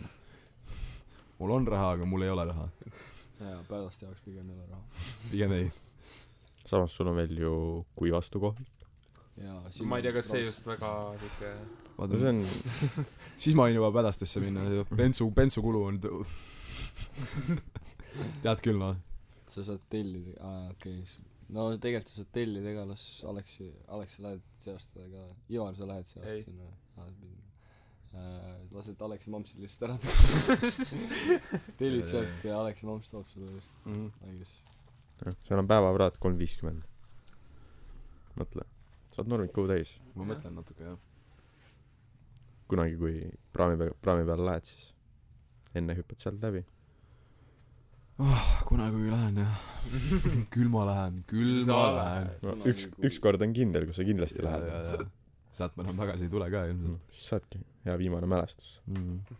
S2: mul on raha , aga mul ei ole raha ,
S4: jaa , päevaste jaoks pigem ei ole raha .
S2: pigem ei .
S1: samas sul on veel ju kui vastu kohv
S4: jaa ,
S3: ma ei tea kas see just väga siuke
S1: no
S2: vaata ,
S1: see on
S2: siis ma võin juba Pädastesse minna , bensu , bensukulu on tõ- tead küll noh ,
S4: sa saad tellida , aa okei okay. , no tegelikult sa saad tellida ka , las Aleksi , Aleks sa lähed see aasta ka , Ivar , sa lähed see
S3: Ei.
S4: aasta sinna aa, pidi- äh, lased Aleksi mammsil lihtsalt ära tellid sealt ja Aleksi mamms toob sulle vist
S2: Mhm.
S4: I guess
S1: jah seal on päevavraat kolm viiskümmend mõtle saad normikuu täis
S2: ma mõtlen natuke jah .
S1: kunagi kui praami peal praami peale lähed siis enne hüppad sealt läbi
S2: kunagi kui lähen jah , küll ma lähen , küll ma
S3: Sa
S2: lähen .
S1: no
S4: Kunagi nagu
S1: üks
S4: kui-
S1: ükskord on kindel kus sa kindlasti
S2: Jaa,
S1: lähed
S2: jaa, jaa. sealt ma enam tagasi ei tule ka ilmselt
S1: Mm, siis saadki hea viimane mälestus
S2: mm. .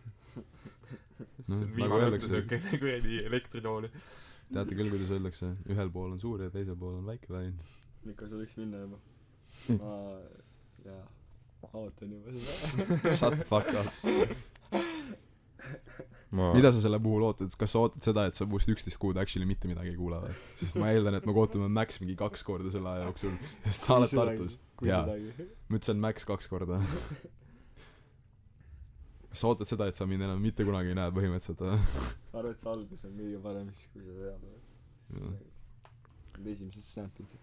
S3: see on
S2: nagu
S3: viimane õhtu
S2: öeldakse.
S3: siuke kuradi elektritool
S2: teate küll , kuidas öeldakse , ühel pool on suur ja teisel pool on väike lain .
S4: Mikko , sa võiks minna juba
S2: Mhm.
S4: ma jaa ootan juba seda
S2: Shut fuck up .
S1: ma
S2: mida sa selle puhul ootad , kas sa ootad seda , et sa must üksteist kuud actually mitte midagi ei kuule või ? sest ma eeldan , et me kohtume Max mingi kaks korda selle aja jooksul , sest sa oled Tartus .
S4: kui
S2: Jaa.
S4: sedagi
S2: ma ütlesin Max kaks korda . kas sa ootad seda , et sa mind enam mitte kunagi ei näe põhimõtteliselt või ?
S4: arvad , et see algus on kõige parem siis , kui sa tead
S2: Jah.
S4: Need
S2: Mhm.
S4: esimesed snapid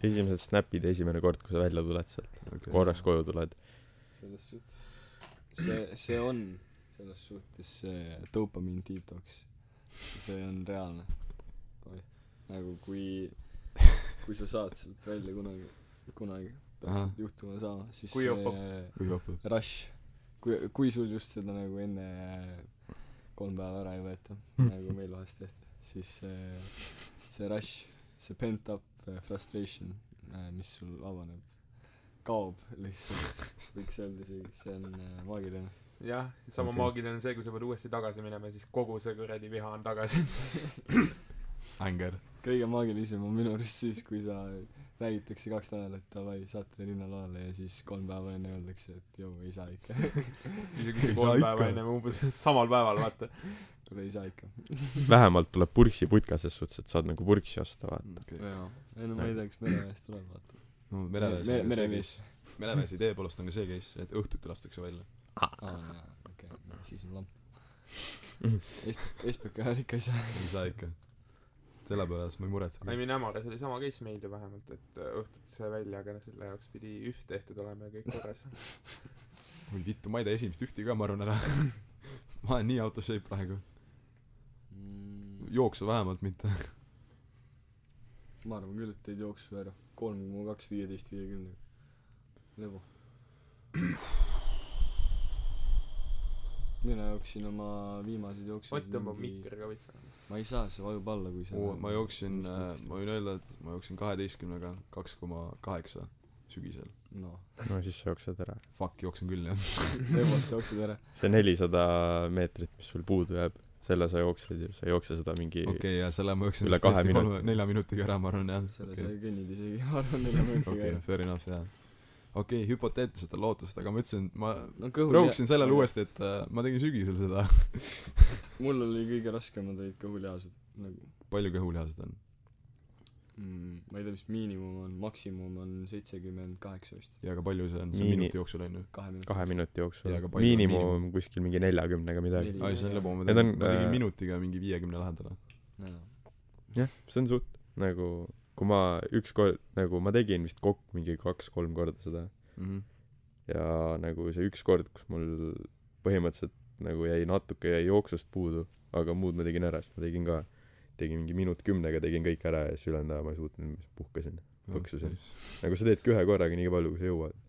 S1: esimesed snapid esimene kord kui sa välja tuled sealt korraks koju tuled
S4: selles suhtes see see on selles suhtes see dopamiin detox see on reaalne Oi. nagu kui kui sa saad sealt välja kunagi kunagi
S2: Ahah.
S4: peaks juhtuma saama siis
S3: Kui jopab.
S4: see
S2: kui jopab .
S4: rush kui kui sul just seda nagu enne kolm päeva ära ei võeta nagu meil vahest tehti siis see see rush see pent up eh, frustration eh, mis sul avaneb kaob lihtsalt võiks öelda isegi see on eh, maagiline
S3: jah
S2: Okei.
S3: sama okay. maagiline on see kui sa pead uuesti tagasi minema ja siis kogu see kuradi viha on tagasi
S2: Anger .
S4: kõige maagilisem on minu arust siis kui sa räägitakse kaks nädalat davai saate linnalaale ja siis kolm päeva enne öeldakse et jõu ei saa ikka
S3: isegi
S2: Ei saa
S3: kolm päeva
S2: ikka.
S3: enne umbes samal päeval vaata
S4: kuule ei saa ikka
S1: vähemalt tuleb purksi putka ses suhtes et saad nagu purksi osta vaata
S4: jaa ei no ma ei tea kas meremees tuleb vaata
S2: no mereväes
S4: mere-
S2: on ka see
S4: meremees
S2: case , mereväes idee poolest on ka see case , et õhtuti lastakse välja .
S4: aa jaa okei no siis on lamp Es- SBK hääl ikka ei saa
S2: ei saa ikka . selle pärast ma ei
S3: I
S2: muretsegi .
S3: mean Ämares oli sama case meil ju vähemalt et äh, õhtuti sai välja aga noh selle jaoks pidi üht tehtud olema ja kõik korras
S2: oi vittu , ma ei tea esimest ühti ka , ma arvan ära . ma olen nii out of shape praegu .
S4: Mm,
S2: jooksu vähemalt mitte .
S4: ma arvan küll , et teid jooksis ära . kolm koma kaks , viieteist , viiekümne . levu . mina jooksin oma viimased jooksud
S3: Ott tõmbab mikker ka veits ära
S4: ma ei saa , see vajub alla , kui sa
S2: ma jooksin , ma võin öelda , et ma jooksin kaheteistkümnega kaks koma kaheksa sügisel .
S4: noh ,
S1: no siis sa jooksed ära
S2: Fuck , jooksin küll jah .
S4: levost jooksed ära .
S1: see nelisada meetrit mis sul puudu jääb selle sa jooksed ju sa ei jookse seda mingi
S2: okei okay, , ja selle ma jooksin
S1: Üle
S2: vist
S1: kahe
S2: tõesti kolme
S1: minuti. ,
S2: nelja minutiga ära , ma arvan jah .
S4: selle
S2: Okei.
S4: sa ei kõnnid isegi , ma arvan , nelja minutiga
S2: okei
S4: ära .,
S2: fair enough jah . okei okay, , hüpoteetiliselt on lootust , aga ma ütlesin , ma
S4: no kõhul
S2: rõhuksin sellele . uuesti , et äh, ma tegin sügisel seda .
S4: mul oli kõige raskemad olid kõhulihased nagu
S2: palju kõhulihased on ?
S4: mm, . ma ei tea , mis miinimum on , maksimum on seitsekümmend kaheksa vist .
S2: ja aga palju see on , see on
S1: Miini-
S2: minuti jooksul on ju .
S4: kahe minuti .
S1: kahe minuti jooksul
S2: Jaa, aga palju on
S1: miinimum
S2: miinimum?
S1: kuskil mingi neljakümnega midagi
S4: Neli.
S2: aa , siis on lõbu , ma
S1: Need
S2: tegin
S1: on, ,
S2: ma
S1: äh,
S2: tegin minutiga mingi viiekümne lähedale .
S4: jaa .
S1: jah see on suht nagu kui ma ükskord nagu ma tegin vist kokku mingi kaks kolm korda seda
S2: Mm -hmm.
S1: ja nagu see üks kord kus mul põhimõtteliselt et nagu jäi natuke jäi jooksust puudu aga muud ma tegin ära sest ma tegin ka tegin mingi minut kümnega tegin kõik ära ja siis ülejäänud aja ma ei suutnud ma puhkasin Põksusin. nagu sa teedki ühe korraga nii palju kui sa jõuad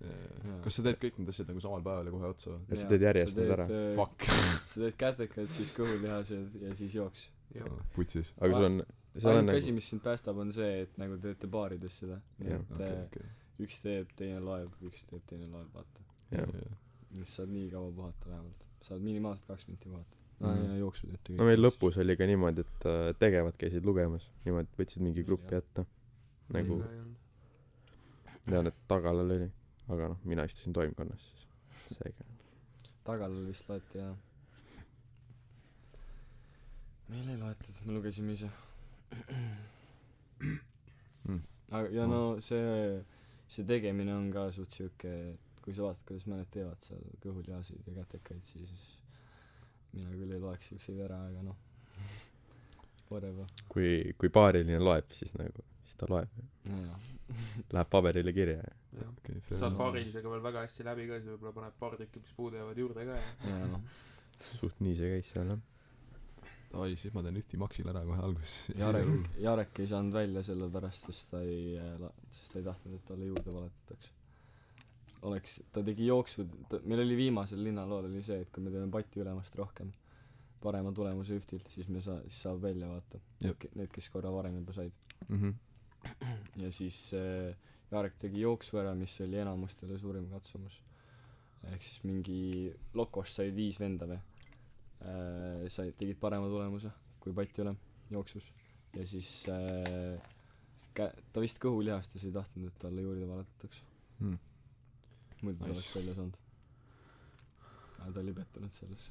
S2: kas sa teed kõik need asjad nagu samal päeval ja kohe otsa või
S1: Ja sa teed järjest need ära.
S2: Fuck.
S4: äh, sa teed kätekad siis kõhulihased ja siis jooks
S3: jah ,
S2: putsis
S1: aga sul on seal on
S4: ainuke
S1: nagu
S4: asi mis sind päästab on see et nagu te teete baarides seda
S1: Jah,
S4: et
S2: okei
S4: okay.
S2: okei
S4: üks teeb teine loeb üks teeb teine loeb vaata
S1: jah
S2: Jah.
S4: siis saad nii kaua puhata vähemalt saad minimaalselt kaks minti puhata aa
S1: Mhm.
S4: mm. ja jooksud ette
S1: no meil lõpus oli ka niimoodi et äh, tegevad käisid lugemas niimoodi võtsid mingi grupi ette nagu tean et Tagalal oli aga noh mina istusin toimkonnas siis seega
S4: tagal vist loeti jaa meil ei loetud me lugesime ise
S2: Mm.
S4: aga ja no see see tegemine on ka suht siuke et kui sa vaatad kuidas mõned teevad seal kõhulihaseid ja kätekaid siis mina küll ei loeks siukseid ära aga noh whatever
S1: kui kui paariline loeb siis nagu siis ta loeb
S4: nojah
S1: läheb paberile kirja ja
S3: jah
S2: okei
S3: saad
S2: fair
S3: paarilisega veel väga hästi läbi ka siis võibolla paned paar tükki mis puudu jäävad juurde ka ja
S4: jaa noh
S1: suht nii see käis seal jah
S2: ai siis ma teen ühti maksil ära kohe alguses
S4: Jarek Jarek ei saanud välja sellepärast sest ta ei äh, la- sest ta ei tahtnud et talle juurde valetatakse oleks ta tegi jooksu ta meil oli viimasel linnalool oli see et kui me teeme pati ülemast rohkem parema tulemuse üftil siis me saa- siis saab välja vaata
S2: Jep.
S4: Ke- need kes korra varem juba said
S2: mhmh
S4: ja siis äh, Jarek tegi jooksu ära mis oli enamustele suurim katsumus ehk siis mingi Lokost sai viis venda või äh, said tegid parema tulemuse kui pati ülem jooksus ja siis äh, kä- ta vist kõhulihastes ei tahtnud et talle juurde valetataks
S2: Hmm.
S4: muidu ta
S2: Nice.
S4: oleks välja saanud aga ta oli pettunud selles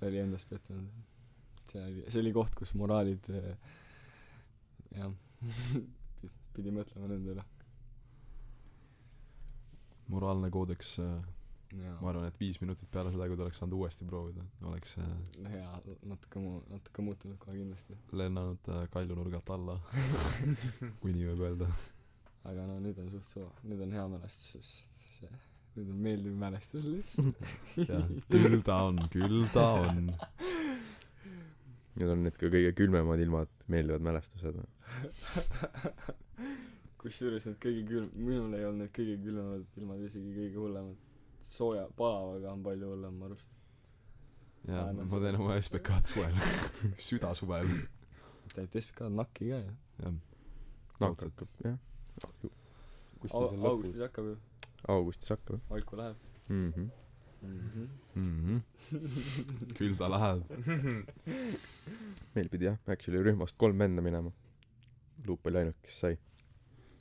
S4: ta oli endas pettunud see oli see oli koht kus moraalid äh, jah pi- pidi mõtlema nende üle
S2: moraalne koodeks äh,
S4: jaa
S2: ma arvan et viis minutit peale seda kui ta oleks saanud uuesti proovida oleks äh,
S4: jaa natuke mu- natuke muutunud kohe kindlasti
S2: lennanud äh, kaljunurgalt alla kui nii võib öelda
S4: aga no nüüd on suht suva nüüd on hea mälestus sest see nüüd on meeldiv mälestus lihtsalt
S2: jah küll ta on küll ta on
S1: need on need ka kõige külmemad ilmad meeldivad mälestused
S4: kusjuures need kõige külm- minul ei olnud need kõige külmemad ilmad isegi kõige hullemad sooja palavaga on palju hullem ma arust
S2: jaa
S4: Aa, no
S2: ma
S4: see-
S2: teen oma SBK-d suvel süda suvel
S4: et ainult SBK on nakki ka ju
S2: jah
S1: nakk
S2: Raudselt.
S1: hakkab jah
S4: Au- augustis hakkab ju
S1: augustis hakkab
S4: valku läheb
S1: mhmh
S4: mhmh
S2: mhmh Mhm. küll ta läheb
S1: meil pidi jah actually rühmast kolm venda minema Luup oli ainuke kes sai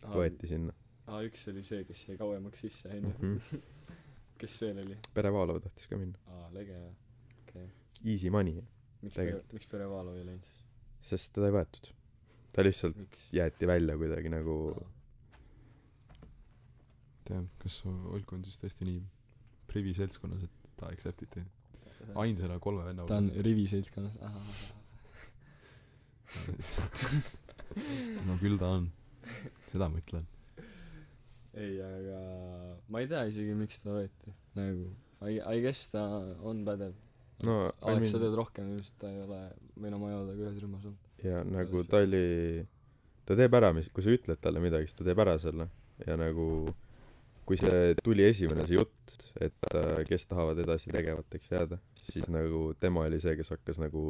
S1: võeti sinna
S4: aa üks oli see kes jäi kauemaks sisse onju
S1: mhmh
S4: kes veel oli
S1: Pere Vaalov tahtis ka minna
S4: aa lege jah okei
S1: Easy money
S4: miks pere
S1: Tegelikult.
S4: miks pere Vaalo ei läinud siis
S1: sest teda ei võetud ta lihtsalt
S4: miks
S1: jäeti välja kuidagi nagu
S4: Aa.
S2: tea kas Olku on siis tõesti nii privi seltskonnas et ta accept iti ainsana kolme venna
S4: ta on rivi seltskonnas
S2: hulgast. no küll ta on seda ma ütlen
S4: ei aga ma ei tea isegi miks ta võeti nagu I I guess ta on pädev
S1: no I
S4: Alex sa
S1: mean,
S4: tead rohkem ilmselt ta ei ole või no ma ei ole temaga ühes rühmas olnud
S1: ja nagu ta oli ta teeb ära mis kui sa ütled talle midagi siis ta teeb ära selle ja nagu kui see tuli esimene see jutt et äh, kes tahavad edasi tegevateks jääda siis nagu tema oli see kes hakkas nagu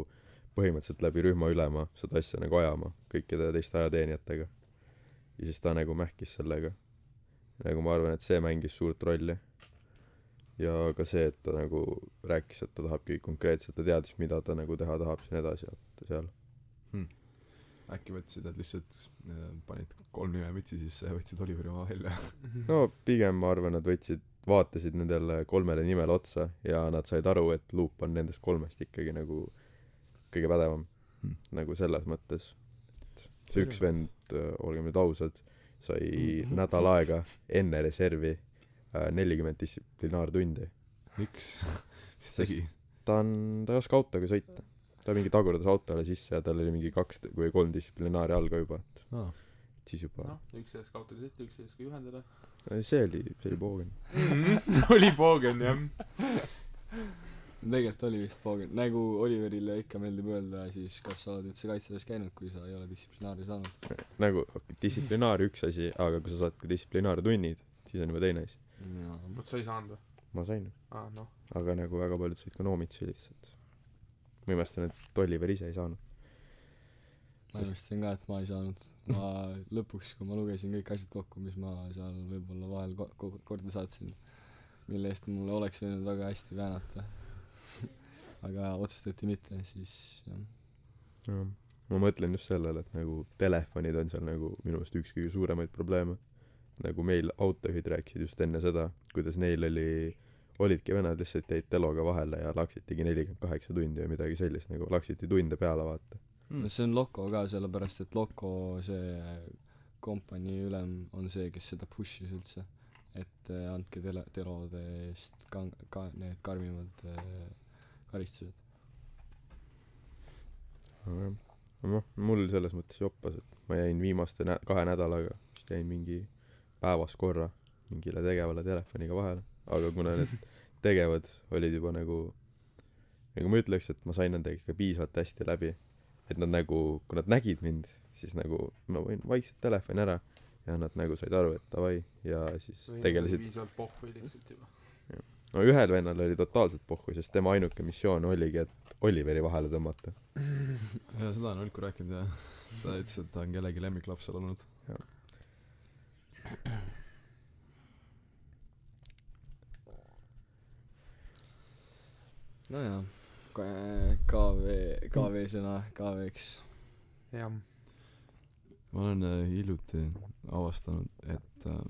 S1: põhimõtteliselt läbi rühma ülema seda asja nagu ajama kõikide teiste ajateenijatega ja siis ta nagu mähkis sellega nagu ma arvan et see mängis suurt rolli ja ka see et ta nagu rääkis et ta tahabki konkreetselt ta teadis mida ta nagu teha tahab siin edasi vaata seal
S2: äkki võtsid nad lihtsalt äh, panid kolm nime mütsi sisse ja võtsid Oliveri oma välja
S1: no pigem ma arvan nad võtsid vaatasid nendele kolmele nimele otsa ja nad said aru et Loop on nendest kolmest ikkagi nagu kõige pädevam
S2: Hmm.
S1: nagu selles mõttes see üks vend äh, olgem nüüd ausad sai
S2: Hmm.
S1: nädal aega enne reservi nelikümmend distsiplinaartundi
S2: miks mis
S1: Sest-
S2: tegi
S1: ta on ta ei oska autoga sõita ta mingi tagurdas autole sisse ja tal oli mingi kaks või kolm distsiplinaari all ka juba et
S2: aa
S1: siis juba
S3: noh üks ei oska autoga sõita üks ei oska juhendada
S1: see oli see oli poogen
S3: oli poogen jah
S4: tegelikult oli vist paagen , nagu Oliverile ikka meeldib öelda , siis kas sa oled üldse kaitseväes käinud , kui sa ei ole distsiplinaari saanud
S1: nagu okei, distsiplinaar üks asi , aga kui sa saad ka distsiplinaartunnid , siis on juba teine asi .
S4: jaa
S3: vot sa ei saanud või ?
S1: ma sain ,
S3: aa , noh .
S1: aga nagu väga paljud said ka noomitsi lihtsalt . ma imestan , et Oliver ise ei saanud .
S4: ma imestasin ka et ma ei saanud ma lõpuks kui ma lugesin kõik asjad kokku mis ma seal võibolla vahel ko- ko- korda saatsin mille eest mulle oleks võinud väga hästi väänata aga otsustati mitte siis jah
S1: ma mõtlen just sellele , et nagu telefonid on seal nagu minu meelest üks kõige suuremaid probleeme . nagu meil autojuhid rääkisid just enne seda , kuidas neil oli , olidki venad lihtsalt jäid teloga vahele ja laksitigi nelikümmend kaheksa tundi või midagi sellist , nagu laksiti tunde peale , vaata .
S4: no see on Loko ka sellepärast et Loko see kompanii ülem on see kes seda push'is üldse et eh, andke tele- telode eest ka- ka- need karmimad eh, karistused
S1: aga jah , noh , mul selles mõttes joppas , et ma jäin viimaste nä- , kahe nädalaga , vist jäin mingi päevas korra mingile tegevale telefoniga vahele , aga kuna need tegevad olid juba nagu , nagu ma ütleks , et ma sain nendega ikka piisavalt hästi läbi , et nad nagu , kui nad nägid mind , siis nagu ma võin vaikselt telefoni ära ja nad nagu said aru , et davai ja siis tegelesid
S3: piisavalt pohhui lihtsalt juba .
S1: no ühel vennal oli totaalselt pohhu , sest tema ainuke missioon oligi , et Oliveri vahele tõmmata .
S2: jaa , seda on Olku rääkinud jah . ta ütles , et ta on kellegi lemmiklapsel olnud .
S4: nojah K- KV KV sõna KV-ks
S3: jah .
S2: ma olen äh, hiljuti avastanud , et äh,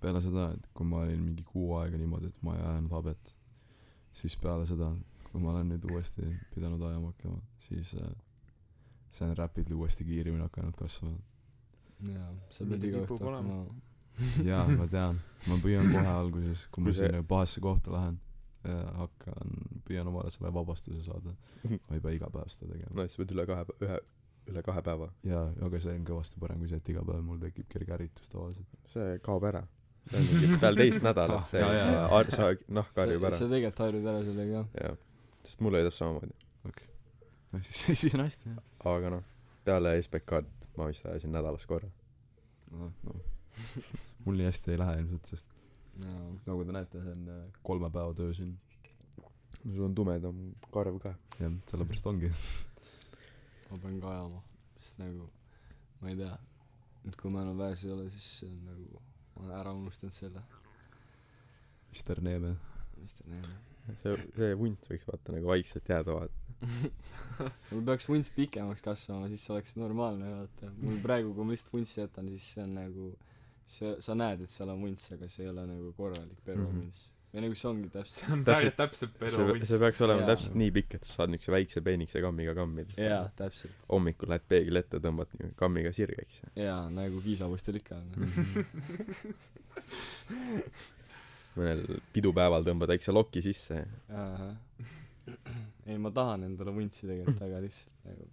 S2: peale seda , et kui ma olin mingi kuu aega niimoodi , et ma ei ajanud habet , siis peale seda , kui ma olen nüüd uuesti pidanud ajama hakkama , siis äh, see on rapidly uuesti kiiremini hakanud kasvama .
S4: jaa sa
S3: Nii
S4: pead
S3: ta
S4: iga
S3: kipub
S4: õhtu
S3: olema.
S4: hakkama
S2: jaa , ma tean , ma püüan kohe alguses , kui ma
S1: Kui see-
S2: sinna pahasse kohta lähen , hakkan , püüan omale selle vabastuse saada . ma ei pea iga päev seda tegema .
S1: no siis sa pead üle kahe , ühe , üle kahe päeva .
S2: jaa , aga see on kõvasti parem kui see , et iga päev mul tekib kerge ärritus tavaliselt .
S1: see kaob ära . see on mingi peal teist nädalat , see
S2: Ah, jaa, jaa.
S1: ar- , sa nahk
S4: sa
S1: harjub ära
S4: sa . tegelikult harjud ära sellega jah
S1: jah , sest mul oli täpselt samamoodi .
S2: noh , siis , siis on hästi , jah .
S1: aga noh , peale SBK-d ma vist ajasin nädalas korra .
S2: noh , noh . mul nii hästi ei lähe ilmselt , sest
S4: jaa
S2: nagu te näete , see on äh, kolme päeva töö siin .
S1: sul on tumedam karv ka .
S2: jah , sellepärast ongi .
S4: ma pean ka ajama sest nagu ma ei tea et kui ma enam väes ei ole siis see on nagu ma olen ära unustanud selle
S2: Mister Neeme .
S4: mis ta nimi on
S1: see , see vunt võiks vaata nagu vaikselt jääda vaata .
S4: mul peaks vunts pikemaks kasvama , siis see oleks normaalne vaata . mul praegu , kui ma lihtsalt vuntsi jätan , siis see on nagu , see , sa näed , et seal on vunts , aga see ei ole nagu korralik
S1: Mhm.
S4: peruvunts mm . -hmm. või nagu see ongi
S3: see
S4: täpselt .
S3: on
S1: Täpselt-
S3: täpselt , täpselt
S1: see ,
S3: peruvõits
S1: see . peaks olema
S4: Jaa.
S1: täpselt nii pikk , et sa saad niukse väikse peenikese kammiga kammida .
S4: jaa , täpselt .
S1: hommikul lähed peegli ette , tõmbad nii- kammiga sirgeks .
S4: jaa , nagu kiisapuistel ikka on .
S1: mõnel pidupäeval tõmbad väikse loki sisse .
S4: ei , ma tahan endale vuntsi tegelikult , aga lihtsalt nagu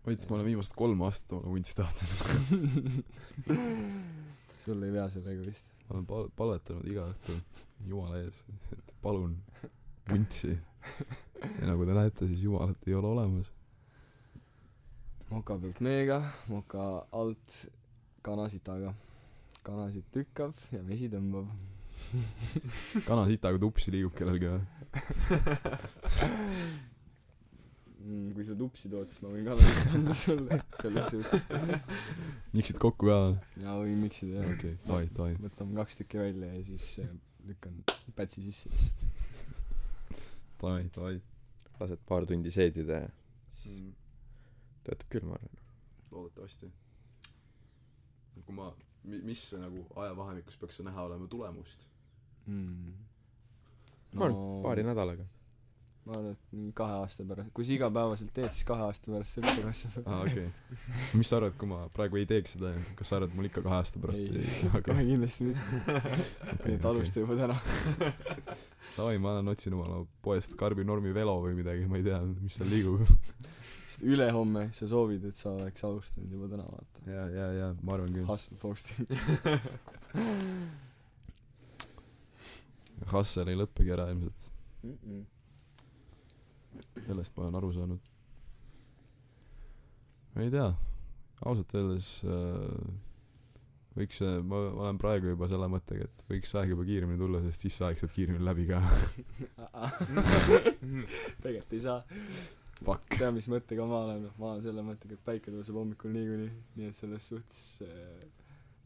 S2: Ott , ma olen viimased kolm aastat oma vuntsi tahtnud .
S4: sul ei pea sellega vist .
S2: ma olen pal- , palvetanud iga õhtu Jumala ees , et palun vuntsi . ja nagu te näete , siis Jumalat ei ole olemas .
S4: moka pealt meega , moka alt kanasitaga . kanasid lükkab ja vesi tõmbab .
S2: kana sitaga tupsi liigub kellelgi või ?
S4: mm, . kui sa tupsi tood , siis ma võin ka lasta anda sulle selles suhtes .
S2: miksid kokku ka või ?
S4: ja või miksida jah okay. .
S2: okei okay, , davai , davai .
S4: võtame kaks tükki välja ja siis äh, lükkan pätsi sisse lihtsalt .
S2: davai , davai .
S1: lased paar tundi seedida ja töötab küll , ma arvan .
S2: loodetavasti . kui ma , mi- , mis see nagu ajavahemikus peaks see näha olema tulemust ?
S4: mm.
S1: Ma arvan, paari nädalaga .
S4: ma arvan , et mingi kahe aasta pärast , kui sa igapäevaselt teed , siis kahe aasta pärast see üldse kasvab .
S2: aa , Ah, okei okay. . mis sa arvad , kui ma praegu ei teeks seda , kas sa arvad , et mul ikka kahe aasta pärast
S4: Ei.
S2: ei hakka ?
S4: kohe kindlasti mitte . nii et alusta juba täna .
S2: davai , ma lähen otsin omale poest karbinormi velo või midagi , ma ei tea , mis seal liigub .
S4: sest ülehomme sa soovid , et sa oleks alustanud juba täna , vaata .
S2: ja , ja , ja ma arvan küll .
S4: Hustle posting .
S2: Hassel ei lõppegi ära ilmselt . sellest ma olen aru saanud . ma ei tea , ausalt öeldes äh, võiks , ma ma olen praegu juba selle mõttega , et võiks aeg juba kiiremini tulla , sest siis see aeg saab kiiremini läbi ka .
S4: tegelikult ei saa .
S2: Fuck .
S4: tea , mis mõttega ma olen , ma olen selle mõttega , et päike tõuseb hommikul niikuinii , nii et selles suhtes äh,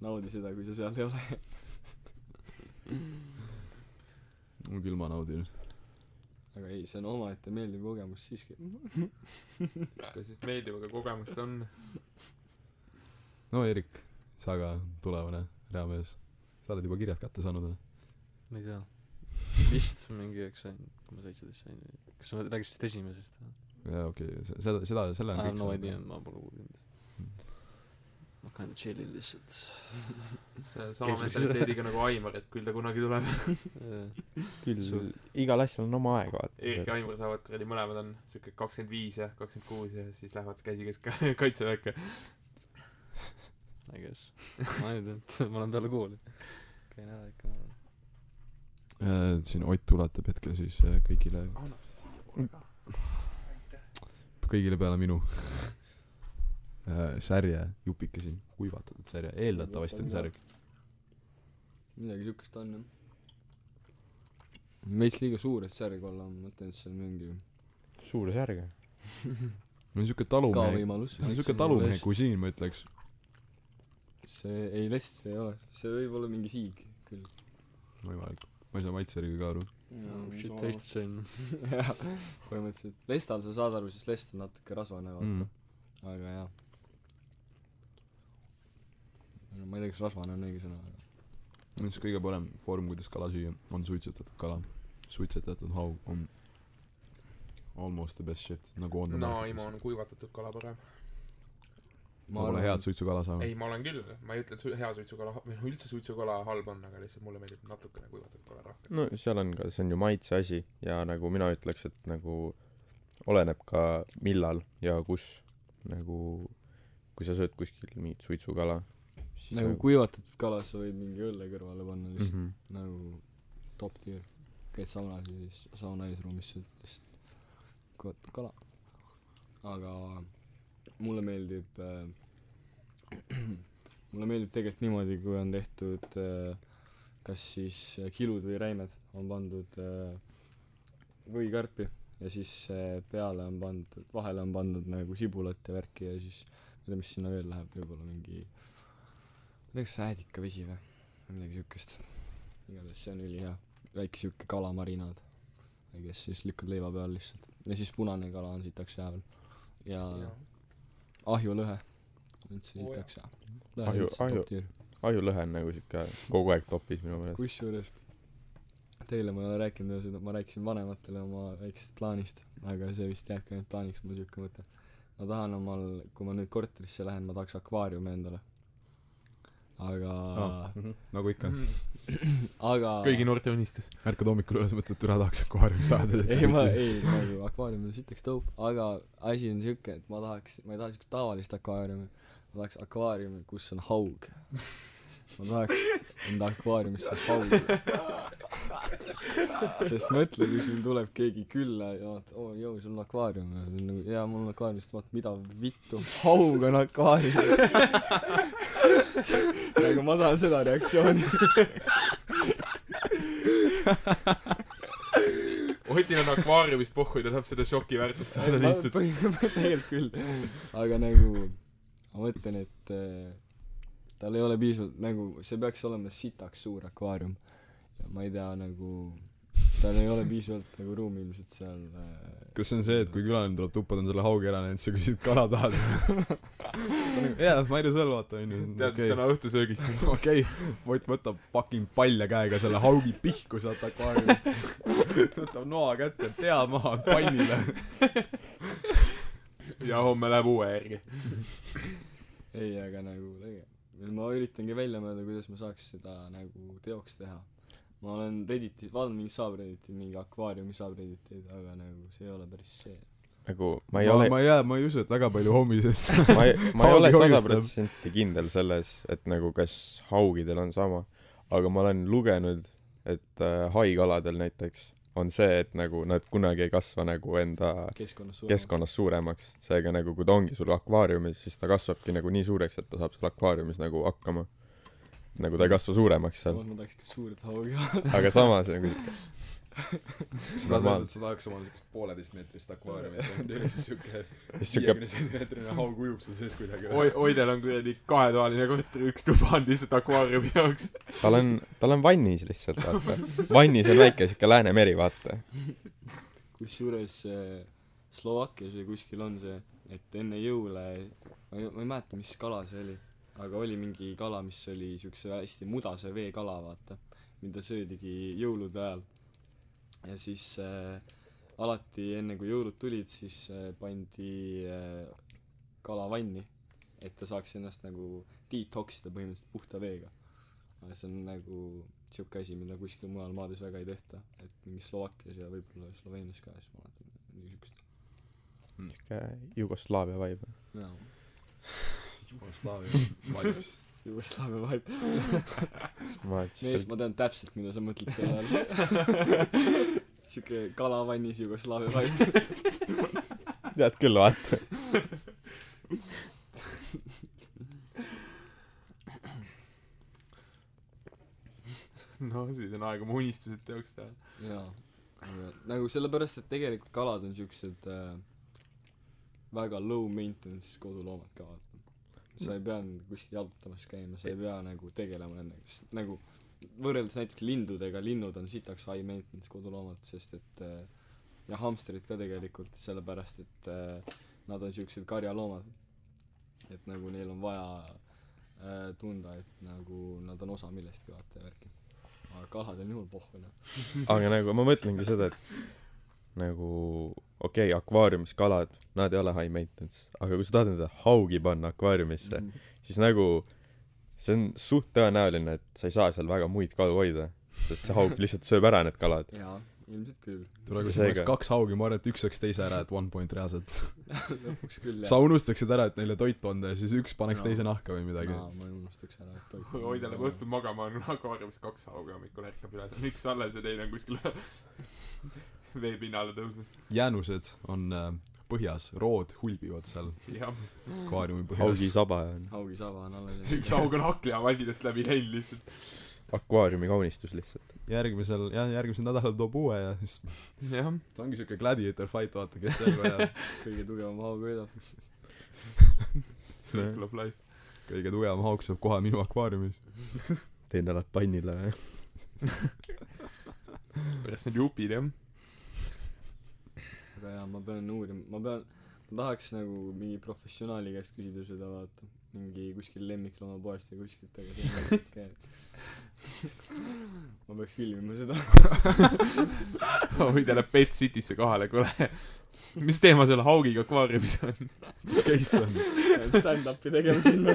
S4: naudi seda , kui sa seal ei ole .
S2: mul küll ma naudin .
S4: aga ei , see on omaette meeldiv kogemus siiski .
S3: tõsiselt meeldiv , aga kogemust on .
S2: no Erik , sa ka tulevane reamees . sa oled juba kirjad kätte saanud või ?
S5: ma ei tea vist mingi aeg sain kui ma seitseteist sain või- kas sa räägid sellest esimesest või
S2: jaa , okei okay. , seda , seda , selle
S5: I
S2: on
S5: have
S2: kõik
S5: no
S2: saanud
S5: idea , ma pole uurinud ma kinda chillin lihtsalt
S3: see on sama
S5: Kes-
S3: mentaliteediga nagu Aimar , et küll ta kunagi tuleb .
S5: Jah.
S1: küll
S5: Suht-
S1: igal asjal on oma aeg
S3: Erik ja
S1: vaata
S3: Aimar saavad kuradi , mõlemad on siuke kakskümmend viis ja kakskümmend kuus ja siis lähevad käsikest ka- kaitseväkke .
S5: I guess ma ei tea ma olen peale kooli käin ära ikka ma arvan
S2: Äh, siin Ott ulatab hetkel siis äh, kõigile ,
S3: annab siia poole ka .
S2: kõigile peale minu äh, särje jupike siin , kuivatatud särje , eeldatavasti on särg .
S4: midagi siukest on jah . veits liiga suur , et särg olla , ma mõtlen , et see on mingi
S1: suur särg
S2: see on siuke
S4: ka
S2: talumehe ,
S4: võimalus
S2: Oh see on . siuke
S5: Väiksem
S2: talumehe
S5: lest.
S2: kusiin , ma ütleks .
S4: see ei , less see ei ole , see võib olla mingi siig küll . Oh,
S2: võimalik , ma ei saa maitsejärgi ka aru .
S5: Oh, shit tasted same
S4: jah , põhimõtteliselt lestal sa saad aru , sest lest on natuke rasvane vaata
S2: Mm.
S4: mm. aga jah no ma ei tea kas rasvane on õige sõna aga
S2: minu arust kõige parem vorm , kuidas kala süüa , on suitsetatud kala . suitsetatud haug on almost the best shit , nagu on .
S3: Naimo on kuivatatud kala parem .
S2: ma pole head suitsukala saanud .
S3: ei , ma olen küll , ma ei ütle , et su- hea suitsukala , või noh , üldse suitsukala halb on , aga lihtsalt mulle meeldib natukene kuivatatud kala rohkem .
S1: no seal on ka see on ju maitse asi ja nagu mina ütleks et nagu oleneb ka millal ja kus nagu kui sa sööd kuskil mingit suitsukala siis
S4: nagu kuivatatud kala sa võid mingi õlle kõrvale panna lihtsalt
S2: Mhm.
S1: mhmh
S4: mm. nagu top tier käid saunas ja siis sauna eesruumis sööd lihtsalt kuivatud kala aga mulle meeldib äh, mulle meeldib tegelikult niimoodi kui on tehtud äh, kas siis äh, kilud või räimed on pandud äh, võikarpi ja siis äh, peale on pandud vahele on pandud nagu sibulat ja värki ja siis ma ei tea mis sinna veel läheb võibolla mingi ma ei tea kas see äädikavesi või midagi siukest igatahes see on ülihea väike siuke kalamarinaad I guess siis lükkad leiva peal lihtsalt ja siis punane kala on sitaks hea veel ja ahjulõhe üldse
S3: Oo
S4: sitaks hea
S1: Ahju-
S4: lõhe üldse
S1: ahju-
S4: top tier
S1: ahjulõhe on nagu siuke kogu aeg topis minu meelest
S4: kusjuures teile ma ei ole rääkinud veel seda ma rääkisin vanematele oma väiksest plaanist aga see vist jääbki ainult plaaniks mul siuke mõte ma tahan omal kui ma nüüd korterisse lähen ma tahaks akvaariumi endale aga
S2: Ah,
S4: ah.
S2: mhmh, nagu ikka .
S4: aga
S3: Mm. kõigi noorte unistus .
S2: ärkad hommikul üles , mõtled , et üle tahaks akvaariumi saada .
S4: ei ma ei nagu akvaarium on sitaks dope aga asi on siuke et ma tahaks ma ei taha siukest tavalist akvaariumi ma tahaks akvaariumi kus on haug ma tahaks enda akvaariumisse haug sest mõtle kui sul tuleb keegi külla ja vaata oo oh, jõu sul on akvaarium ja ta on nagu jaa mul on akvaarium siis vaata mida vittu haug on akvaarium nagu ma tahan seda reaktsiooni
S3: Otil on akvaariumis pohhu ja ta saab seda šoki väärtust saada
S4: Ma-
S3: lihtsalt .
S4: põhimõ- tegelikult küll aga nagu ma mõtlen et äh, tal ei ole piisavalt nagu see peaks olema sitaks suur akvaarium ja ma ei tea nagu tal ei ole piisavalt nagu ruumi ilmselt seal äh,
S2: kas see on see , et kui külaline tuleb tuppa , ta on selle haugi ära näinud , sa küsid kala tahad ? jaa , might as well vaata onju .
S3: tead , mis
S2: okei ,
S3: täna õhtusöögiks on .
S2: okei , Ott võtab fucking palja käega selle haugi pihku sealt akvaariumist . võtab noa kätte , pea maha pannile .
S3: ja homme läheb uue järgi .
S4: ei aga nagu tege- ma üritangi välja mõelda kuidas ma saaks seda nagu teoks teha ma olen Redditis vaadanud mingeid subredditeid mingi akvaariumi subredditeid aga nagu see ei ole päris see
S1: nagu ma ei
S2: ma
S1: ole ,
S2: ma ei jää , ma ei usu , et väga palju hommises .
S1: ma ei , ma ei ole
S2: Haugi
S1: sada
S2: hoiustab.
S1: protsenti kindel selles , et nagu kas haugidel on sama , aga ma olen lugenud , et äh, haikaladel näiteks on see , et nagu nad kunagi ei kasva nagu enda
S4: keskkonnas
S1: keskkonnas suuremaks , seega nagu kui ta ongi sul akvaariumis , siis ta kasvabki nagu nii suureks , et ta saab seal akvaariumis nagu hakkama . nagu ta ei kasva suuremaks seal ,
S4: samas ma tahaks ikka suurt haugi olla .
S1: aga samas nagu
S2: sa
S1: Normaalne.
S2: tahad , et sa tahaks oma niisugust pooleteistmeetrist akvaariumit , siis siuke
S1: siis siuke
S2: viiekümne sentimeetrine haug ujub seal sees kuidagi .
S3: Oi- , Oidel on kuidagi kahetoaline korter , üks tuba on lihtsalt akvaariumi jaoks .
S1: tal on , tal on vannis lihtsalt , vaata . vannis on väike siuke Läänemeri , vaata .
S4: kusjuures eh, Slovakkias või kuskil on see , et enne jõule , ma ei , ma ei mäleta , mis kala see oli , aga oli mingi kala , mis oli siukse hästi mudase veekala , vaata , mida söödigi jõulude ajal . ja siis äh, alati enne , kui jõulud tulid , siis äh, pandi äh, kala vanni , et ta saaks ennast nagu detoksida põhimõtteliselt puhta veega . aga see on nagu siuke asi , mida kuskil mujal maades väga ei tehta , et mingi Slovakkias ja võib-olla Sloveenias ka , siis ma mäletan niisugust .
S1: Jugoslaavia vibe .
S2: Jugoslaavia .
S4: Jugoslaavia vibe .
S1: ma
S4: mees ,
S1: lihtsalt ,
S4: ma tean täpselt , mida sa mõtled selle all . siuke kalavannis Jugoslaavia vibe .
S1: tead küll , vaata .
S3: no siis on aeg oma unistused teoks teha .
S4: jaa . nagu sellepärast , et tegelikult kalad on siuksed äh, väga low maintenance koduloomad ka , vaata . sa ei pea nüüd kuskil jalutamas käima , sa ei pea nagu tegelema nendega , sest nagu võrreldes näiteks lindudega , linnud on sitaks high maintenance koduloomad , sest et äh, ja hamstrid ka tegelikult , sellepärast et äh, nad on siuksed karjaloomad . et nagu neil on vaja äh, tunda , et nagu nad on osa millestki , vaata ja värki . aga kalad on jumal pohhu , noh .
S1: aga nagu ma mõtlengi seda , et nagu okei okay, , akvaariumis kalad , nad ei ole high maintenance , aga kui sa tahad nende haugi panna akvaariumisse , siis nagu see on suht tõenäoline , et sa ei saa seal väga muid kalu hoida , sest see haug lihtsalt sööb ära need kalad .
S4: jaa , ilmselt küll .
S2: tule , kui sul oleks
S1: Seega-
S2: kaks haugi , ma arvan , et üks sööks teise ära , et one point reaalselt .
S4: lõpuks küll
S2: sa unustaksid ära , et neile toitu anda ja siis üks paneks
S4: No.
S2: teise nahka või midagi .
S4: jaa , ma ei unustaks ära , et toit
S3: Oidel läheb nagu õhtul magama , on akvaariumis kaks hauga , hommikul ärkab üles , on üks alles ja teine on kuskil veepinnale tõusnud .
S2: jäänused on äh, põhjas , rood hulbivad seal
S3: jah ,
S2: akvaariumi
S1: haugi
S2: põhjas .
S1: saba on
S4: haugisaba on
S3: üks
S4: alles .
S3: haug on hakklihamasinast läbi läinud lihtsalt .
S1: akvaariumi kaunistus lihtsalt .
S2: järgmisel , jah , järgmisel nädalal toob uue ja siis
S3: jah .
S2: see ongi siuke gladiator fight , vaata , kes ellu jääb .
S4: kõige tugevam haug võidab .
S3: Circle of life .
S2: kõige tugevam hauk saab kohe minu akvaariumis .
S1: teine läheb pannile või ?
S3: pärast need jupid jah .
S4: aga jaa , ma pean uurima , ma pean , ma tahaks nagu mingi professionaali käest küsida seda , vaata . mingi kuskil lemmikloomapoest või kuskilt , aga see on väga käib . ma peaks filmima seda .
S3: Oidel läheb Pet Citysse kohale , kuule . mis teema selle haugiga akvaariumis on ?
S2: mis case see on ?
S4: Stand-up'i tegema sinna .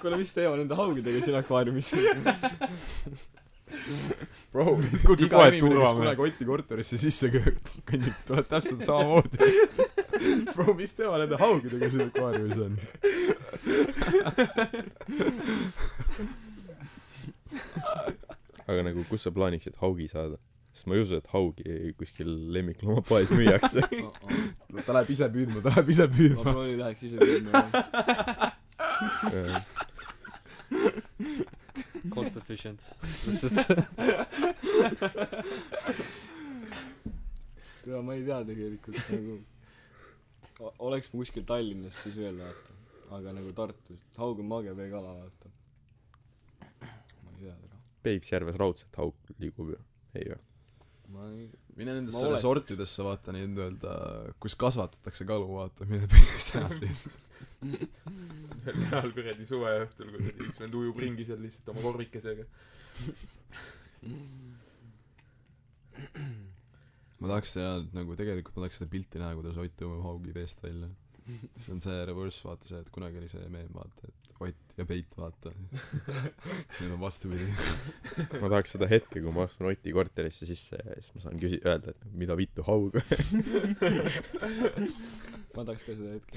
S4: kuule , mis teema nende haugidega siin akvaariumis on ?
S2: Bro ,
S3: Kutsub
S2: iga
S3: kohe
S2: inimene , kes
S3: turvamehe.
S2: kunagi Oti korterisse sisse kõ- kõnnib , tuleb täpselt samamoodi . Bro , mis tema nende haugidega siin akvaariumis on ?
S1: aga nagu kus sa plaaniksid haugi saada ? sest ma ei usu , et haugi kuskil lemmikloomapoes müüakse .
S2: ta läheb ise püüdma , ta läheb ise
S4: ma
S2: püüdma .
S4: proovin , läheks ise filmima .
S5: cost efficient lihtsalt
S4: jaa , ma ei tea tegelikult nagu O- oleks ma kuskil Tallinnas , siis veel vaata aga nagu Tartus haug on mage veekala vaata ma ei tea täna
S1: Peipsjärves raudselt hauk liigub ju . ei või ?
S4: ma ei
S2: mine
S4: Ma
S2: nendesse
S4: olen-
S2: resortidesse , vaata neid nii-öelda , kus kasvatatakse kalu , vaata , mine püüa sealt lihtsalt .
S3: ühel ajal kuradi suveõhtul , kui üks vend ujub ringi seal lihtsalt oma korvikesega .
S2: ma tahaks teha nagu tegelikult ma tahaks seda pilti näha , kuidas Ott tõmbab haugi veest välja . see on see reverse , vaata see , et kunagi oli see meem , vaata , et Ott ja Peit , vaata . Need on vastupidi .
S1: ma tahaks seda hetke , kui ma astun Oti korterisse sisse ja siis ma saan küsi- , öelda , et mida vittu haug .
S4: ma tahaks ka seda hetke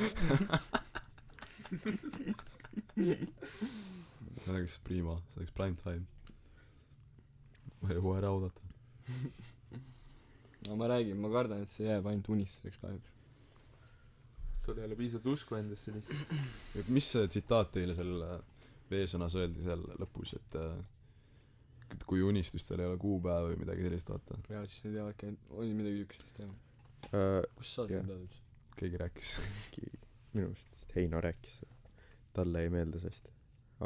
S2: see oleks prima , see oleks prime time . ma ei jõua ära oodata .
S4: no ma räägin , ma kardan , et see jääb ainult unistuseks kahjuks .
S3: sul ei ole piisavalt usku endasse lihtsalt .
S2: mis see tsitaat teile seal äh, veesõnas öeldi seal lõpus , et äh, et kui unistustel ei ole kuupäeva või midagi sellist , vaata ,
S4: ja siis nad jäävadki ainult , oli midagi siukest teha .
S1: äh,
S4: kus sa
S1: Jah.
S4: seda tead üldse ?
S2: keegi rääkis .
S1: ki- minu arust vist Heino rääkis seda talle ei meeldi see hästi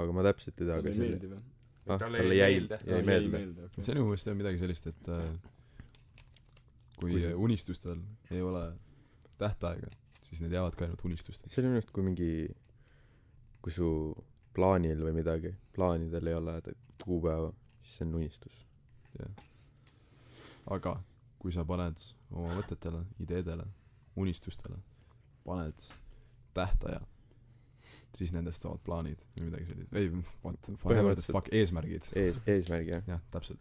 S1: aga ma täpselt ei tea
S4: talle ei
S1: kas see
S4: meeldi
S1: oli
S4: või ?
S1: ah
S3: Talle
S1: talle
S3: ei
S1: jäi
S3: meeldi.
S1: jäi meelde
S4: meeldi , okei .
S2: sinu meelest on midagi sellist , et äh, kui
S1: Kui see-
S2: äh, unistustel ei ole tähtaega , siis need jäävad ka ainult unistusteks .
S1: see oli minu arust kui mingi kui su plaanil või midagi plaanidel ei ole tä- kuupäeva siis see on unistus
S2: aga kui sa paned oma mõtetele , ideedele , unistustele , paned tähtaja , siis nendest saavad plaanid või midagi sellist . ei , what , whatever the
S1: Põhimõtteliselt-
S2: fuck , eesmärgid .
S1: ees- eesmärgi jah
S2: jah , täpselt .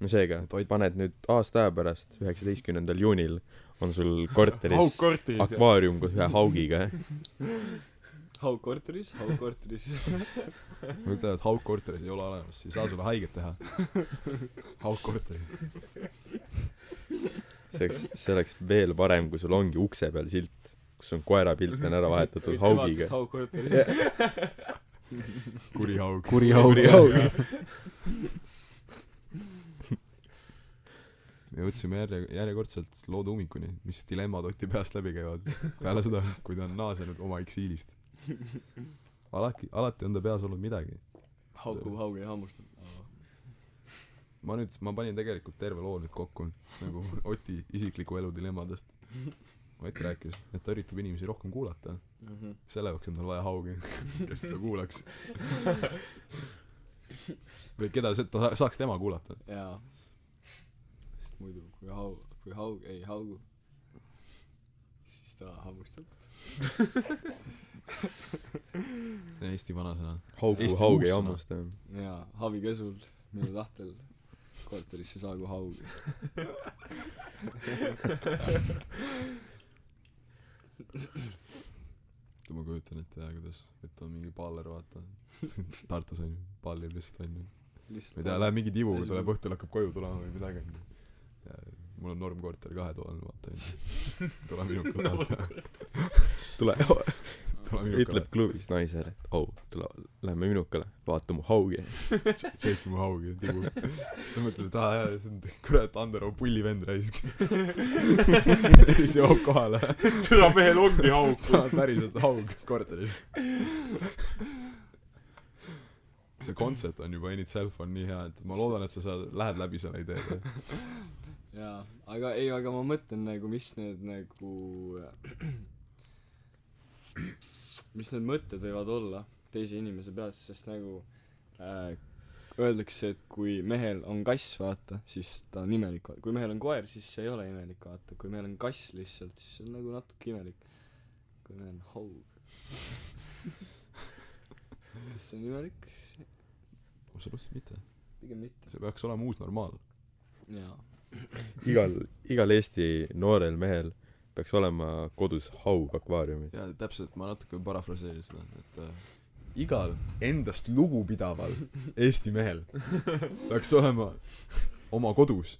S1: no seega
S2: Et hoid-
S1: paned nüüd aasta aja pärast üheksateistkümnendal juunil on sul korteris
S3: auk korteris .
S1: akvaarium koos ühe haugiga jah
S4: How korteris , how korteris .
S2: Nad ütlevad , Hauk korteris ei ole olemas , ei saa sulle haiget teha . Hauk korteris .
S1: see oleks see oleks veel parem kui sul ongi ukse peal silt kus on koera pilt on ära vahetatud haugiga
S4: How korteris .
S2: kuri Hauk .
S5: kuri haug .
S2: me jõudsime järje , järjekordselt loode ummikuni , mis dilemmad Oti peast läbi käivad peale seda , kui ta on naasenud oma eksiilist . alati , alati on ta peas olnud midagi .
S4: haukub haugi ja hammustab .
S2: ma nüüd , ma panin tegelikult terve loo nüüd kokku , nagu Oti isikliku elu dilemmadest . Ott rääkis , et ta üritab inimesi rohkem kuulata , selle jaoks on tal vaja haugi , kes teda kuulaks . või keda see , ta sa- saaks tema kuulata .
S4: jaa . sest muidu , kui haug , kui haug ei haugu , siis ta hammustab .
S2: Eesti vanasõna .
S1: haugu
S2: Eesti
S1: haug ei
S2: uussõna.
S1: hammusta jah
S4: jaa , havi käsul , minu tahtel , korterisse saagu haug .
S2: et ma kujutan ette jah , kuidas , et on mingi baller , vaata . Tartus on ju , ballil lihtsalt on ju . ma ei tea , läheb mingi tibuga , tuleb õhtul hakkab koju tulema või midagi . mul on normkorter kahetoaline , vaata onju . tule minuga vaata .
S1: tule
S2: tule minuga
S1: ütleb klubis naisele et au tule lähme minukale vaata mu haugi
S2: vaata , tšeki mu haugi ja tibu . nagu, siis ta mõtleb , et aa jaa , see on kurat , Ander on pullivend raisk . siis jõuab kohale ,
S3: türa mehel ongi auk .
S2: tal on päriselt haug korteris . see kontsept on juba in itself on nii hea , et ma loodan , et sa saad , lähed läbi selle ideega .
S4: jaa , aga ei , aga ma mõtlen nagu , mis need nagu , mis need mõtted võivad olla teise inimese peas , sest nagu äh, öeldakse , et kui mehel on kass , vaata , siis ta on imelik , kui mehel on koer , siis see ei ole imelik , vaata , kui mehel on kass lihtsalt , siis see on nagu natuke imelik . kui mehel on haug , siis see on imelik ,
S2: absoluutselt mitte .
S4: pigem mitte .
S2: see peaks olema uus normaal .
S4: jaa ,
S1: igal igal Eesti noorel mehel peaks olema kodus haug akvaariumis
S2: jaa , täpselt , ma natuke parafraseerin seda , et äh, igal endast lugupidaval Eesti mehel peaks olema oma kodus ,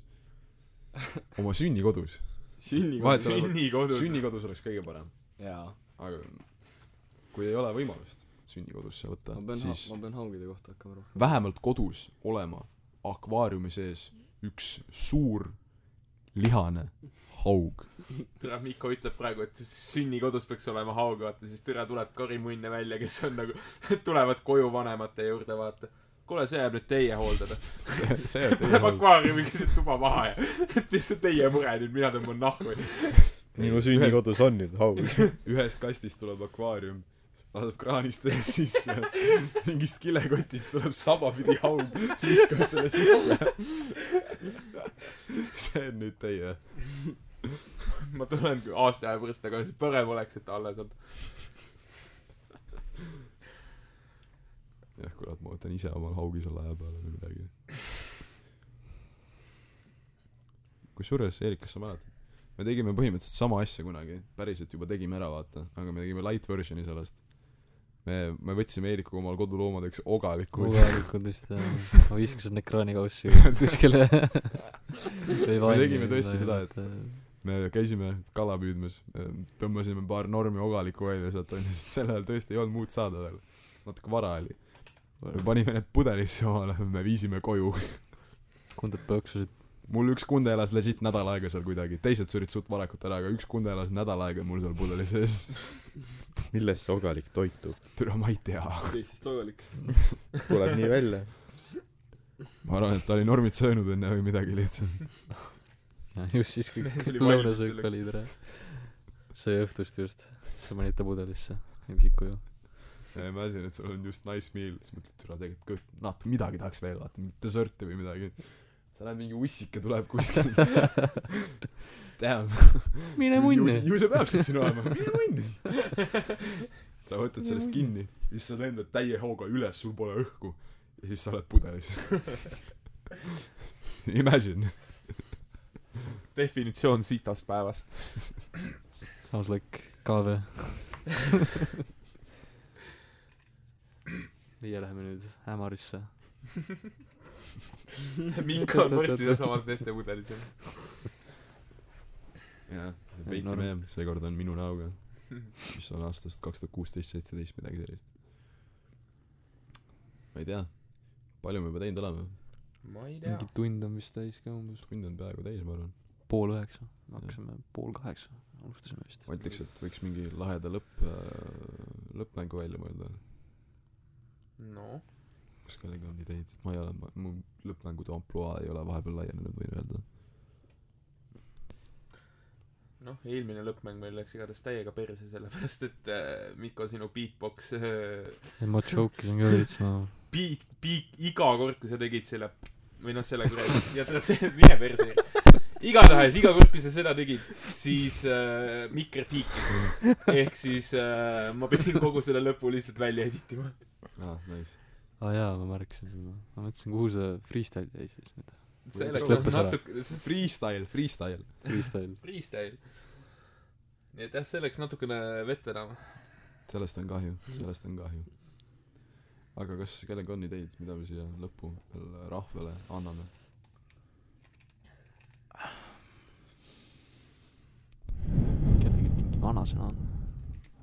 S2: oma sünnikodus .
S4: sünniga ,
S2: Vahet-
S3: sünnikodus .
S2: sünnikodus oleks kõige parem ,
S4: jaa .
S2: aga kui ei ole võimalust sünnikodusse võtta
S4: ma , pean ,
S2: siis
S4: ma pean haugide kohta hakkama rohkem .
S2: vähemalt kodus olema akvaariumi sees üks suur lihane haug .
S3: türa Mikko ütleb praegu , et sünnikodus peaks olema haug , vaata siis türa tuleb karimunne välja , kes on nagu , tulevad koju vanemate juurde , vaata . kuule , see jääb nüüd teie hooldada .
S2: see , see on teie
S3: Läheb
S2: haug .
S3: akvaariumi keset tuba maha ja , et see on teie mure nüüd , mina tõmban nahku .
S1: minu sünnikodus on nüüd haug
S2: ühest kastist tuleb akvaarium , laseb kraanist ühe sisse , mingist kilekotist tuleb sabapidi haug , viskab selle sisse . see on nüüd teie .
S3: ma tulen aasta aja pärast tagasi , parem oleks , et ta alles on .
S2: jah , kurat , ma võtan ise omal haugi selle aja peale või midagi . kusjuures , Eerik , kas sa mäletad ? me tegime põhimõtteliselt sama asja kunagi , päriselt juba tegime ära , vaata , aga me tegime light version'i sellest . me me me võtsime Eerikuga omal koduloomadeks ogalikud
S5: kogalikud vist jah ma viskasin ekraani kaussi kuskile või
S2: Me tegime tõesti seda, et- me käisime kala püüdmas , tõmbasime paar normi ogalikku välja sealt onju , sest sel ajal tõesti ei olnud muud saada veel . natuke vara oli . me panime need pudelisse omale , me viisime koju .
S5: kundad põõksusid
S2: mul üks kunde elas legit nädal aega seal kuidagi , teised surid suht varakult ära , aga üks kunde elas nädal aega mul seal pudeli sees .
S1: millest see ogalik toitub
S2: türa , ma ei tea .
S6: teistest ogalikest .
S1: tuleb nii välja
S2: ma arvan , et ta oli normid söönud enne või midagi lihtsalt .
S5: ja just siis kui
S3: Mees oli valmis
S5: lõunasöök
S3: selleks.
S5: oli tere see õhtust just sa panid ta pudelisse viisid koju
S2: ja imagine , et sul on just nice meal , siis mõtled , türa tegelikult kõht- , natuke midagi tahaks veel , vaata , mingit desserti või midagi . sa näed , mingi ussike tuleb kuskilt . Damn .
S5: mine munni
S2: ju see peab siis sinu olema , mine munni . sa võtad sellest kinni , siis sa lendad täie hooga üles , sul pole õhku ja siis sa oled pudelis . Imagine .
S3: definitsioon sitast päevast .
S5: sounds like KV meie läheme nüüd Ämarisse
S3: Minka on varsti samas teiste mudelis jah .
S2: jah ,
S5: Norm-
S2: Veiki Meem , seekord on minu näoga , mis on aastast kaks tuhat kuusteist , seitseteist , midagi sellist . ma ei tea , palju me juba teinud oleme ,
S3: ma ei tea
S5: mingi . tund on vist täis ka umbes
S2: tund on peaaegu täis , ma arvan .
S5: pool üheksa me hakkasime pool kaheksa alustasime vist
S2: ma ütleks , et võiks mingi laheda lõpp , lõppmängu välja mõelda
S3: noh ,
S2: kas kellelgi on ideid ? ma ei ole , ma , mu lõppmängude ampluaa ei ole vahepeal laienenud , võin öelda .
S3: noh , eelmine lõppmäng meil läks igatahes täiega perse , sellepärast et äh, Mikko , sinu beatbox äh, ,
S5: ei ma choke isin ka veits no
S3: beat , beat , iga kord , kui sa tegid selle või noh , selle kuradi , ja ta see , mine perse . igatahes , iga kord , kui sa seda tegid , siis äh, mikker piikis . ehk siis äh, ma pidin kogu selle lõpu lihtsalt välja editima .
S2: aa , Ah, nice .
S5: aa Ah jaa ma märkasin seda ma mõtlesin kuhu see freestyle jäi siis nüüd
S3: see
S5: Kas
S3: nagu
S5: lõppes ära?
S3: natuke , see on
S2: Freestyle , freestyle .
S5: freestyle
S3: freestyle . nii et jah , see läks natukene vett vedama .
S2: sellest on kahju , sellest on kahju . aga kas kellelgi on ideid , mida me siia lõppu veel rahvale anname ?
S5: kellelgi mingi vanasõna on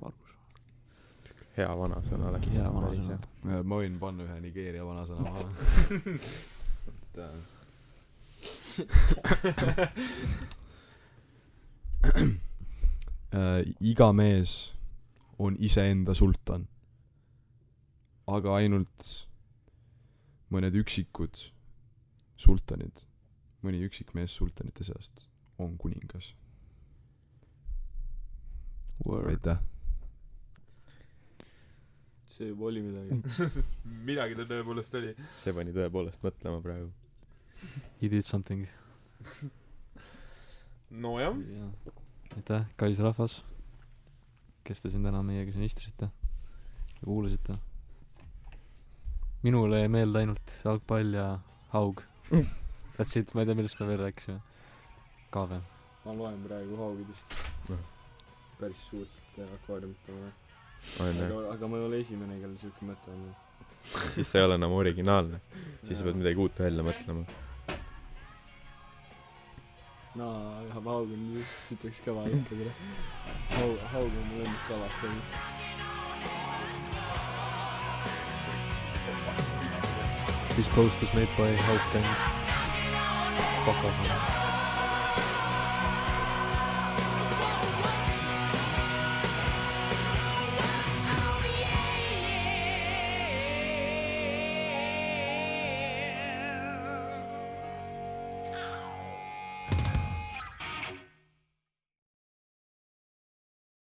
S5: Margus
S1: hea vanasõna läks
S5: hea vanasõna
S2: Äh, ma võin panna ühe Nigeeria vanasõna maha . et äh, äh, iga mees on iseenda sultan . aga ainult mõned üksikud sultanid , mõni üksik mees sultanite seast on kuningas .
S5: word
S2: aitäh .
S4: see juba oli midagi .
S3: midagi ta tõepoolest oli .
S1: see pani tõepoolest mõtlema praegu
S5: he did something
S3: nojah ,
S5: Jaa. aitäh , kallis rahvas , kes te siin täna meiega siin istusite ja kuulasite . minule jäi meelde ainult jalgpall ja haug . That's it , ma ei tea , millest me veel rääkisime . ka või ?
S6: ma loen praegu haugidest päris suurt äh, akvaariumit on vaja .
S1: onju
S6: aga , aga ma ei ole esimene , kellel siuke mõte on .
S1: siis sa ei ole enam originaalne siis sa pead . midagi uut välja mõtlema
S6: naa , aga haug on , siit oleks kõva lõpp küll . haug , haug on mu lemmikkala .
S5: This post was made by Haug Gang . Fuck off .